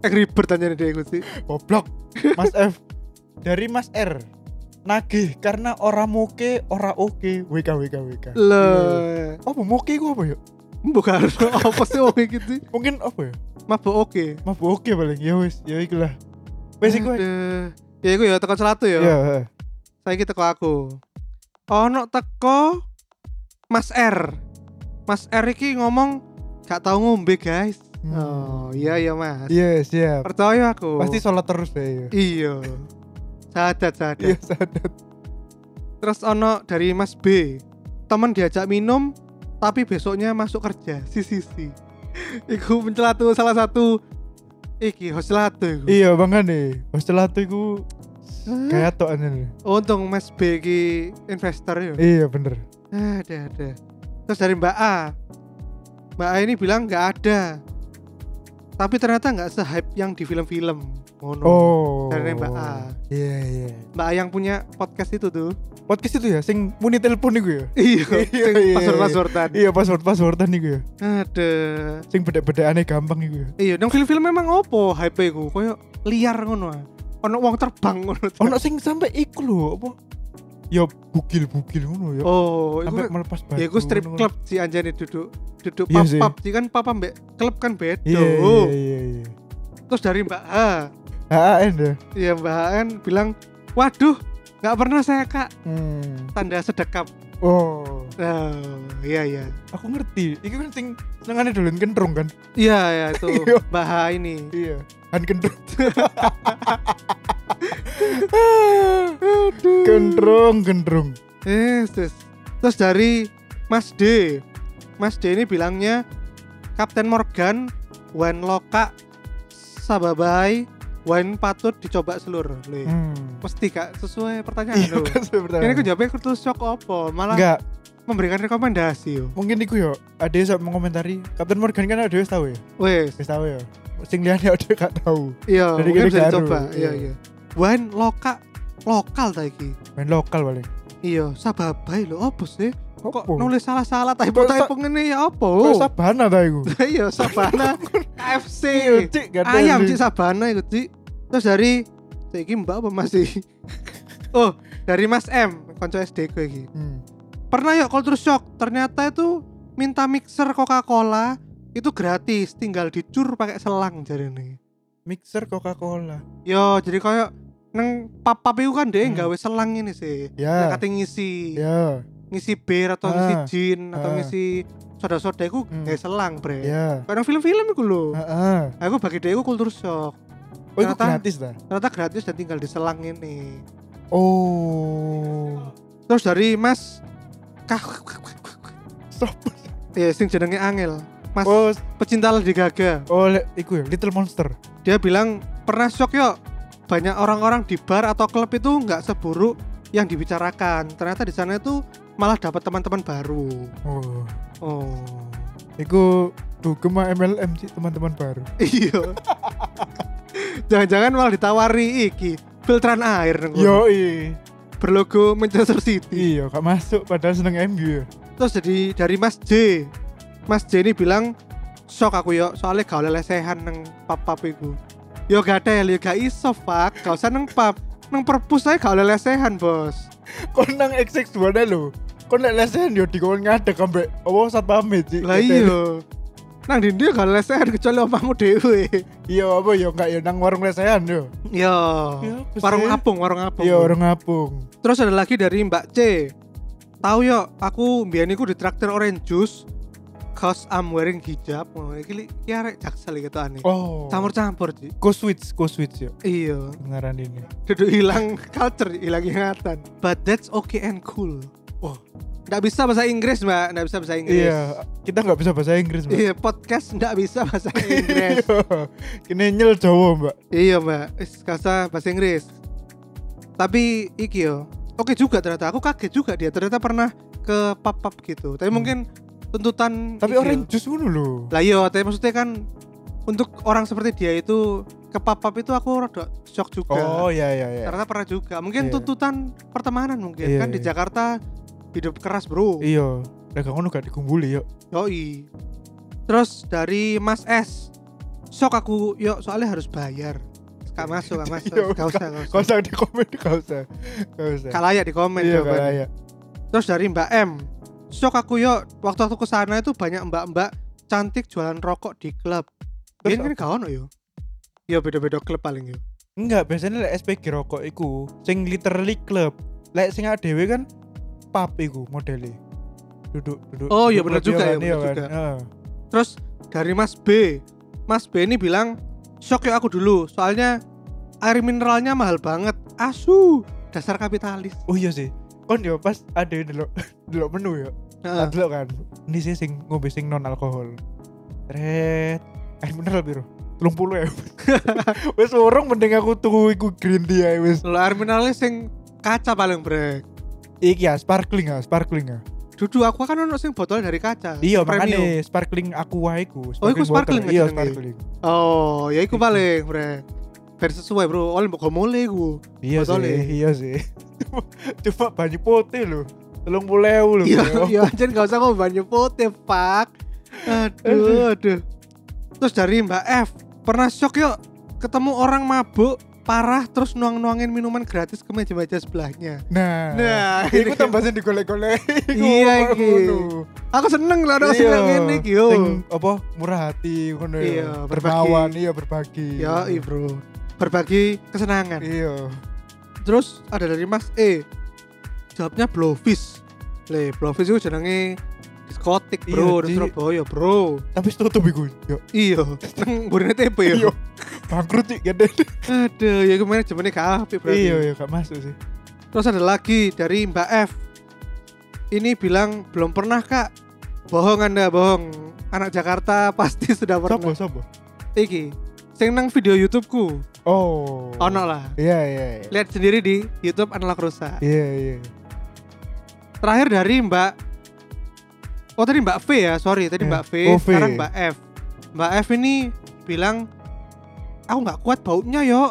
Speaker 1: Ek ribet tanyane dia iku sih.
Speaker 2: Goblok. Mas F dari Mas R. Nagih karena ora moke, ora oke. WK WK WK.
Speaker 1: Loh.
Speaker 2: Iya. Apa moke ku apa ya?
Speaker 1: Bukan harus [laughs] apa sih wong iki sih?
Speaker 2: mungkin apa ya
Speaker 1: Mabuk oke.
Speaker 2: mabuk oke paling ya wis ya ikulah
Speaker 1: Hmm,
Speaker 2: wis iku
Speaker 1: Aduh. Ya iku ya teko selatu ya.
Speaker 2: ya eh.
Speaker 1: Saiki teko aku. Ono teko Mas R. Mas R iki ngomong gak tau ngombe, guys.
Speaker 2: Hmm.
Speaker 1: Oh, iya iya, Mas.
Speaker 2: iya siap
Speaker 1: Percaya aku.
Speaker 2: pasti sholat terus deh ya
Speaker 1: iya. Sadat sadat.
Speaker 2: iya sadar
Speaker 1: Terus ono dari Mas B. Temen diajak minum tapi besoknya masuk kerja. [laughs] Si si si. Iku pencelatu salah satu iki hostelatu iku.
Speaker 2: iya banget nih hostel atuh iku
Speaker 1: Hah?
Speaker 2: kayak tok aneh
Speaker 1: Untung Mas B iki investor ya.
Speaker 2: iya bener
Speaker 1: Ada ada. Terus dari Mbak A. Mbak A ini bilang nggak ada. Tapi ternyata nggak se-hype yang di film-film. Ngono.
Speaker 2: oh
Speaker 1: Dari Mbak A.
Speaker 2: iya iya
Speaker 1: Mbak A yang punya podcast itu tuh.
Speaker 2: podcast itu ya sing muni telepon iku ya
Speaker 1: Iya.
Speaker 2: [laughs] Iya,
Speaker 1: sing
Speaker 2: iya,
Speaker 1: Password-password tadi.
Speaker 2: iya password passwordan iku ya
Speaker 1: Ada.
Speaker 2: sing beda-beda aneh gampang iku ya
Speaker 1: Iya, nang film-film memang opo hype ku koyo liar ngono. ah. Ono wong terbang ngono.
Speaker 2: ono sing sampai iku lho apa ya bugil-bugil ngono ya
Speaker 1: Oh, iku
Speaker 2: sampai melepas batu
Speaker 1: ya iku strip
Speaker 2: ngono.
Speaker 1: club sih anjane duduk duduk
Speaker 2: Iya
Speaker 1: pub
Speaker 2: sih.
Speaker 1: pub sih kan pub ambek klub kan beda.
Speaker 2: iya iya iya iya
Speaker 1: Terus dari Mbak A
Speaker 2: HAN ya
Speaker 1: Iya Mbak An bilang, waduh nggak pernah saya kak
Speaker 2: hmm.
Speaker 1: tanda sedekap.
Speaker 2: oh
Speaker 1: Oh, iya iya.
Speaker 2: aku ngerti iki kan sing senengane dolen kentrung kan
Speaker 1: Iya ya itu
Speaker 2: [laughs] Iya.
Speaker 1: Mbak A ini.
Speaker 2: iya han [laughs] kentrung
Speaker 1: Aduh.
Speaker 2: kentrung kentrung
Speaker 1: Yes, yes. Eh, Terus dari Mas D. Mas D ini bilangnya Kapten Morgan Wan Loka Sababai Wan patut dicoba seluruh. Lih,
Speaker 2: hmm.
Speaker 1: Mesti kak sesuai pertanyaan
Speaker 2: iya
Speaker 1: lo.
Speaker 2: kan sebenarnya
Speaker 1: Ini aku jawabnya kurtus shock opo malah
Speaker 2: enggak
Speaker 1: memberikan rekomendasi yo.
Speaker 2: mungkin iku ya ada yang mau komentari Captain Morgan kan ada yang tahu ya
Speaker 1: Wes,
Speaker 2: wis tahu ya sing liane ada yang gak tahu
Speaker 1: Iya,
Speaker 2: Dari
Speaker 1: mungkin
Speaker 2: kiri
Speaker 1: bisa
Speaker 2: Garu.
Speaker 1: dicoba. Iya,
Speaker 2: Iya.
Speaker 1: iya. Wine loka lokal ta iki.
Speaker 2: main lokal paling
Speaker 1: Iya, sababai lho opo sih? Kok
Speaker 2: Apa?
Speaker 1: nulis salah-salah typo-typo ngene ya
Speaker 2: Kayak
Speaker 1: opo?
Speaker 2: sabana ta iku
Speaker 1: [laughs] Iya,
Speaker 2: [laughs]
Speaker 1: Sabana KFC.
Speaker 2: Iya, Cik, gak ada
Speaker 1: Ayam
Speaker 2: yang-
Speaker 1: Cik Sabana iku, Cik. Terus dari iki Mbak apa masih? [laughs] oh, dari Mas M, konco SD ku iki.
Speaker 2: Hmm.
Speaker 1: Pernah yuk culture shock, ternyata itu minta mixer Coca-Cola itu gratis, tinggal dicur pakai selang jarene.
Speaker 2: mixer Coca-Cola
Speaker 1: Yo, jadi kayak neng pap-pap itu kan deh
Speaker 2: Hmm.
Speaker 1: nggawe selang ini sih. Nah,
Speaker 2: ya
Speaker 1: kate ngisi,
Speaker 2: ya
Speaker 1: ngisi bir atau
Speaker 2: Ah.
Speaker 1: ngisi gin atau
Speaker 2: Ah.
Speaker 1: ngisi soda-soda itu
Speaker 2: Hmm.
Speaker 1: nggawe selang, Bre.
Speaker 2: ya Ah.
Speaker 1: Karena film-film itu lho.
Speaker 2: Heeh.
Speaker 1: Aku bagi dia aku kultur shock.
Speaker 2: oh itu
Speaker 1: Ternyata-
Speaker 2: gratis ta
Speaker 1: Ternyata gratis dan tinggal di selang ini.
Speaker 2: oh
Speaker 1: Terus dari Mas Kah
Speaker 2: stop
Speaker 1: ya sing jenenge Angel. Mas
Speaker 2: oh
Speaker 1: pecinta Lady Gaga.
Speaker 2: oh le- iku ya Little Monster
Speaker 1: Dia bilang pernah shock yuk banyak orang-orang di bar atau klub itu nggak seburuk yang dibicarakan. Ternyata di sana itu malah dapat teman-teman baru.
Speaker 2: oh
Speaker 1: Oh. [laughs]
Speaker 2: iku dugem sama MLM sih teman-teman baru
Speaker 1: Iya. Jangan-jangan malah ditawari iki filteran air nang kono.
Speaker 2: yo i
Speaker 1: berlogo Manchester City.
Speaker 2: iya gak masuk padahal seneng MU ya
Speaker 1: Terus jadi dari Mas J. Mas J ini bilang shock aku yo soalnya gak oleh lesehan nang pub-pub iku. Yo gak ada ya, gak iso pak, gak usah nang pub, nang perpus saya gak oleh lesehan bos.
Speaker 2: kon nang XX2 ne lho kon lek lesen yo dikon ngadeg ambek opo sat pamit sih
Speaker 1: Lah iya, nang dinding gak oleh lesehan kecuali omamu dewe.
Speaker 2: iya apa yo gak yo nang warung lesehan yo
Speaker 1: Yo,
Speaker 2: Ya, apa
Speaker 1: Iya. warung
Speaker 2: sih?
Speaker 1: apung, warung apung.
Speaker 2: iya orang ngapung
Speaker 1: Terus ada lagi dari Mbak C. Tahu yo, aku mbiyen iku ditraktir orange juice cause I'm wearing hijab. Wah, iki li- iki arek jaksel gitu aneh.
Speaker 2: oh
Speaker 1: Campur-campur, Ci.
Speaker 2: go switch go switch yo
Speaker 1: Iya,
Speaker 2: beneran ini
Speaker 1: [laughs] duduk hilang culture, hilang ingatan. But that's okay and cool. Wah, ndak bisa bahasa Inggris, Mbak. Ndak bisa bahasa Inggris.
Speaker 2: Iya, kita nggak bisa bahasa Inggris, Mbak.
Speaker 1: Iya, podcast ndak bisa bahasa [laughs] Inggris.
Speaker 2: Kini Iya. nyel Jawa, Mbak.
Speaker 1: iya, Mbak. Is kasa bahasa Inggris. Tapi iki yo. Oke juga ternyata. Aku kaget juga dia ternyata pernah ke pub-pub gitu. Tapi
Speaker 2: Hmm.
Speaker 1: mungkin tuntutan
Speaker 2: Tapi
Speaker 1: iki yo.
Speaker 2: orang jus ngono lho.
Speaker 1: Iya. Lah iya, tapi maksudnya kan untuk orang seperti dia itu ke pub-pub itu aku rada shock juga.
Speaker 2: Oh, iya iya iya.
Speaker 1: Ternyata pernah juga. Mungkin
Speaker 2: Iya.
Speaker 1: tuntutan pertemanan mungkin
Speaker 2: Iya,
Speaker 1: kan di
Speaker 2: iya.
Speaker 1: Jakarta hidup keras, Bro.
Speaker 2: Iya, lah gak ngono gak dikumpuli
Speaker 1: Iya.
Speaker 2: yo.
Speaker 1: Yoi. Terus dari Mas S. Shock aku, yuk soalnya harus bayar. Gak masuk, gak masuk.
Speaker 2: [laughs] Iya,
Speaker 1: Gak usah, gak
Speaker 2: Gak
Speaker 1: usah.
Speaker 2: usah di komen, gak usah. Gak usah.
Speaker 1: Gak layak di komen
Speaker 2: Iya,
Speaker 1: jawabannya.
Speaker 2: gak layak.
Speaker 1: Terus dari Mbak M. shock aku yo waktu aku kesana itu banyak mbak-mbak cantik jualan rokok di klub.
Speaker 2: Terus
Speaker 1: Biyen kan gak ono yo. Yo Iya, beda-beda klub paling yo.
Speaker 2: Enggak, biasanya lek SPG rokok iku sing literally club. Lek sing awake dhewe kan pub iku modele. Duduk duduk.
Speaker 1: Oh, iya
Speaker 2: duduk
Speaker 1: bener juga,
Speaker 2: kan,
Speaker 1: iya
Speaker 2: iya
Speaker 1: bener
Speaker 2: kan.
Speaker 1: juga.
Speaker 2: Heeh.
Speaker 1: Terus dari Mas B. Mas B ini bilang, "Shock yo aku dulu, soalnya air mineralnya mahal banget. Asu, dasar kapitalis."
Speaker 2: Oh iya sih. Kon yo pas ada [laughs] delok delok menu yo.
Speaker 1: Heeh.
Speaker 2: Tak delok kan. Ini sih sing ngombe sing Eh, non alkohol. Red. Air mineral biru.
Speaker 1: [laughs]
Speaker 2: 30 ya. wes orang mending aku tuku iku green tea ae wes.
Speaker 1: Lho, air mineralnya sing kaca paling brek.
Speaker 2: Iki ya sparkling ya, sparkling ya.
Speaker 1: Dudu aku kan ono sing botol dari kaca.
Speaker 2: Iya,
Speaker 1: sing premium.
Speaker 2: makanya sparkling aqua iku.
Speaker 1: Oh, iku
Speaker 2: water.
Speaker 1: sparkling
Speaker 2: Iya,
Speaker 1: aja jenenge.
Speaker 2: sparkling.
Speaker 1: Oh, ya iku
Speaker 2: Iku.
Speaker 1: paling brek. Biar sesuai bro, oleh mbok mole iku.
Speaker 2: Iya
Speaker 1: Botol
Speaker 2: sih,
Speaker 1: ya. [laughs]
Speaker 2: iya sih. [laughs] Coba banyu putih lho. Telung puluh ewu lho.
Speaker 1: Iya,
Speaker 2: Bro.
Speaker 1: iya anjir gak usah ngomong banyu putih, Pak. Aduh, aduh. Terus dari Mbak F, pernah shock yuk ketemu orang mabuk parah terus nuang-nuangin minuman gratis ke meja-meja sebelahnya.
Speaker 2: Nah,
Speaker 1: Nah,
Speaker 2: iku
Speaker 1: ini-
Speaker 2: tambahnya digolek-golek. Iku
Speaker 1: Iya,
Speaker 2: apa
Speaker 1: iki.
Speaker 2: ngono.
Speaker 1: Aku seneng lah orang
Speaker 2: Iya.
Speaker 1: seneng ini, yo.
Speaker 2: Sing apa murah hati ngono ya.
Speaker 1: Iya, berbagi.
Speaker 2: Dermawan, iya berbagi.
Speaker 1: Ya, iya bro. Berbagi kesenangan.
Speaker 2: Iya.
Speaker 1: Terus ada dari Mas E. Jawabnya blowfish. Le, blowfish itu jenenge diskotik,
Speaker 2: Iya,
Speaker 1: bro, di
Speaker 2: di-
Speaker 1: Surabaya, bro.
Speaker 2: Tapi tutup iku. Yo,
Speaker 1: Iya, nang burine TP
Speaker 2: Iya.
Speaker 1: yo.
Speaker 2: bangkrut sih gede.
Speaker 1: Aduh, ya kemarin jamannya gak apik berarti.
Speaker 2: Iya, iya gak masuk sih.
Speaker 1: Terus ada lagi dari Mbak F. Ini bilang belum pernah kak. Bohong anda bohong. Anak Jakarta [laughs] pasti sudah
Speaker 2: Sopo,
Speaker 1: pernah.
Speaker 2: sopo.
Speaker 1: Iki, sing nang video YouTubeku,
Speaker 2: Oh.
Speaker 1: ono lah.
Speaker 2: Iya, iya. iya.
Speaker 1: Lihat sendiri di YouTube Analog Rusa.
Speaker 2: Iya, iya.
Speaker 1: Terakhir dari Mbak Oh tadi Mbak V ya, sorry tadi
Speaker 2: Eh,
Speaker 1: Mbak V,
Speaker 2: oh, V.
Speaker 1: sekarang Mbak F. Mbak F ini bilang aku nggak kuat baunya yo.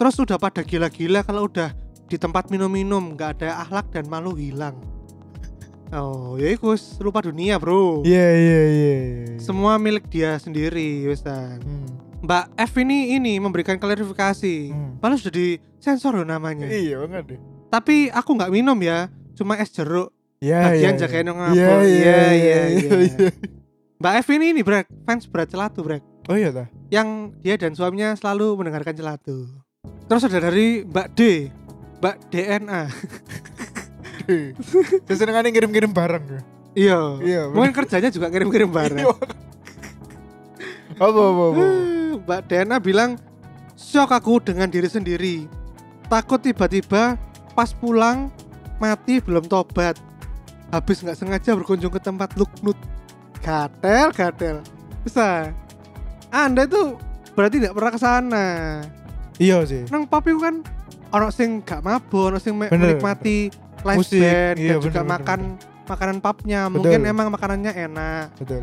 Speaker 1: Terus udah pada gila-gila kalau udah di tempat minum-minum nggak ada akhlak dan malu hilang. Oh, ya iku lupa dunia, Bro.
Speaker 2: Iya, iya, iya. iya.
Speaker 1: Semua milik dia sendiri, Wisan.
Speaker 2: Hmm.
Speaker 1: Mbak F ini ini memberikan klarifikasi.
Speaker 2: Hmm.
Speaker 1: Padahal sudah disensor loh namanya.
Speaker 2: Iya banget deh.
Speaker 1: Tapi aku nggak minum ya, cuma es jeruk.
Speaker 2: Iya,
Speaker 1: Lagian jagain orang ngapel.
Speaker 2: Iya, iya, iya,
Speaker 1: iya,
Speaker 2: iya. iya.
Speaker 1: Mbak F ini nih Brek, fans berat celatu Brek
Speaker 2: Oh iya
Speaker 1: [laughs]
Speaker 2: dah.
Speaker 1: Yang dia dan suaminya selalu mendengarkan celatu Terus ada dari Mbak D Mbak DNA
Speaker 2: Terus senengane ngirim-ngirim barang ya.
Speaker 1: [laughs] Iya
Speaker 2: Iya,
Speaker 1: Mungkin kerjanya juga kirim-kirim barang
Speaker 2: Apa apa
Speaker 1: [laughs]
Speaker 2: apa.
Speaker 1: Hmm, Mbak DNA bilang Shock aku dengan diri sendiri Takut tiba-tiba pas pulang mati belum tobat Habis nggak sengaja berkunjung ke tempat luknut Gatel, gatel Bisa Anda itu berarti nggak pernah ke sana
Speaker 2: Iya sih.
Speaker 1: Nang pub itu kan Orang sing gak mabuk, orang sing me-
Speaker 2: Bener.
Speaker 1: menikmati live
Speaker 2: Musik,
Speaker 1: band Dan
Speaker 2: iya,
Speaker 1: juga
Speaker 2: bener, bener,
Speaker 1: makan makanan pubnya
Speaker 2: Betul.
Speaker 1: Mungkin emang makanannya enak
Speaker 2: Betul.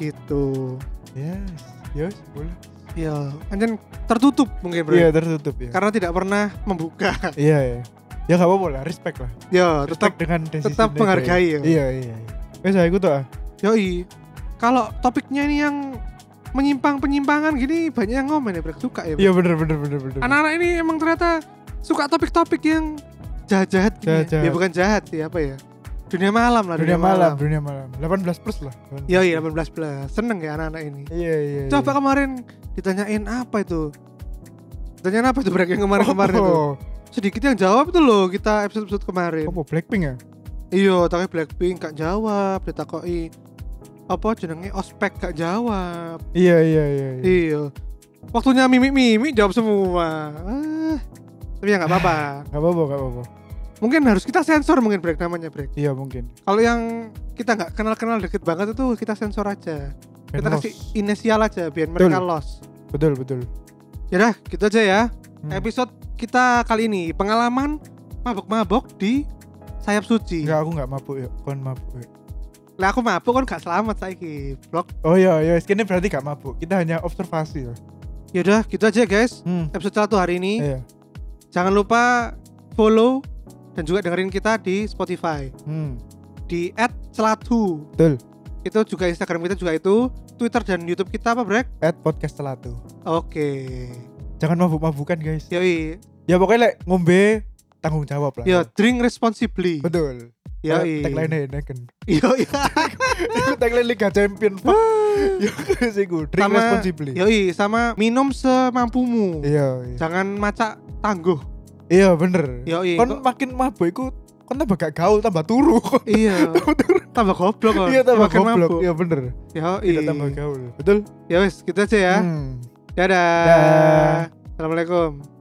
Speaker 1: gitu
Speaker 2: Yes. Yes, boleh.
Speaker 1: Ya, anjen tertutup mungkin bro
Speaker 2: Iya, tertutup ya.
Speaker 1: karena tidak pernah membuka. [laughs]
Speaker 2: Iya, iya. Ya gak apa-apa lah, respect lah.
Speaker 1: ya, tetap
Speaker 2: Respect dengan decision
Speaker 1: tetap
Speaker 2: mereka
Speaker 1: menghargai ya.
Speaker 2: ya. Iya, iya. Wes aku tuh ah.
Speaker 1: Yoi. Kalau topiknya ini yang menyimpang-penyimpangan gini banyak yang ngomen ya, Brek. Suka ya. Brek.
Speaker 2: Iya bener bener bener bener.
Speaker 1: Anak-anak ini emang ternyata suka topik-topik yang jahat-jahat gini. ya.
Speaker 2: Jahat-jahat.
Speaker 1: Ya bukan jahat sih, apa ya? Dunia malam lah,
Speaker 2: dunia malam, dunia malam. 18 plus lah.
Speaker 1: Yoi, 18 plus. Seneng ya anak-anak ini.
Speaker 2: Iya, iya.
Speaker 1: Coba
Speaker 2: iya.
Speaker 1: kemarin ditanyain apa itu? Ditanyain apa itu Brek yang kemarin-kemarin itu?
Speaker 2: Oh,
Speaker 1: Sedikit yang jawab tuh loh kita episode-episode kemarin.
Speaker 2: Apa Blackpink ya?
Speaker 1: Iya, tapi Blackpink gak jawab, ditakoki apa jenenge ospek gak jawab.
Speaker 2: Iya, iya, iya. iya.
Speaker 1: Iya. Waktunya mimik-mimik jawab semua. Ah, tapi ya nggak apa-apa.
Speaker 2: Gak apa-apa, gak apa-apa.
Speaker 1: mungkin harus kita sensor mungkin break namanya break.
Speaker 2: Iya, mungkin.
Speaker 1: Kalau yang kita nggak kenal-kenal deket banget itu kita sensor aja. Kita
Speaker 2: Benos.
Speaker 1: kasih inisial aja biar mereka
Speaker 2: Betul.
Speaker 1: lost.
Speaker 2: Betul, betul.
Speaker 1: Ya dah, gitu aja ya.
Speaker 2: Hmm.
Speaker 1: Episode kita kali ini pengalaman mabok-mabok di sayap suci.
Speaker 2: Enggak, aku enggak mabuk ya. Kon mabuk. Yuk.
Speaker 1: Lah aku mabuk kan gak selamat saiki. Blok.
Speaker 2: Oh iya, iya, skinnya berarti gak mabuk. Kita hanya observasi ya.
Speaker 1: Ya udah, gitu aja guys.
Speaker 2: Hmm.
Speaker 1: episode 1 hari ini.
Speaker 2: Iya.
Speaker 1: Jangan lupa follow dan juga dengerin kita di Spotify
Speaker 2: Hmm.
Speaker 1: di @celatu.
Speaker 2: Betul.
Speaker 1: Itu juga Instagram kita juga itu, Twitter dan YouTube kita apa, Brek?
Speaker 2: At podcast Celatu.
Speaker 1: Oke.
Speaker 2: Jangan mabuk-mabukan, guys.
Speaker 1: Yoi. Iya.
Speaker 2: Ya pokoknya lek ngombe tanggung jawab lah.
Speaker 1: Ya, drink responsibly.
Speaker 2: Betul.
Speaker 1: Yo,
Speaker 2: tagline enak kan
Speaker 1: yo, iya.
Speaker 2: itu [laughs] tagline Liga Champion [laughs] Pak ya sih gue drink
Speaker 1: Sama-
Speaker 2: responsibly
Speaker 1: yo, sama minum semampumu.
Speaker 2: iya iya.
Speaker 1: Jangan macak tangguh.
Speaker 2: iya bener
Speaker 1: Yo,
Speaker 2: kan makin mabuk iku kan tambah gak gaul tambah turu kok
Speaker 1: iya. tambah goblok kok.
Speaker 2: [laughs] iya tambah
Speaker 1: Makin mabuk.
Speaker 2: goblok iya bener
Speaker 1: Yoi.
Speaker 2: tidak tambah gaul betul
Speaker 1: Ya wes, gitu aja ya.
Speaker 2: Hmm.
Speaker 1: Dadah.
Speaker 2: Dah.
Speaker 1: Assalamualaikum.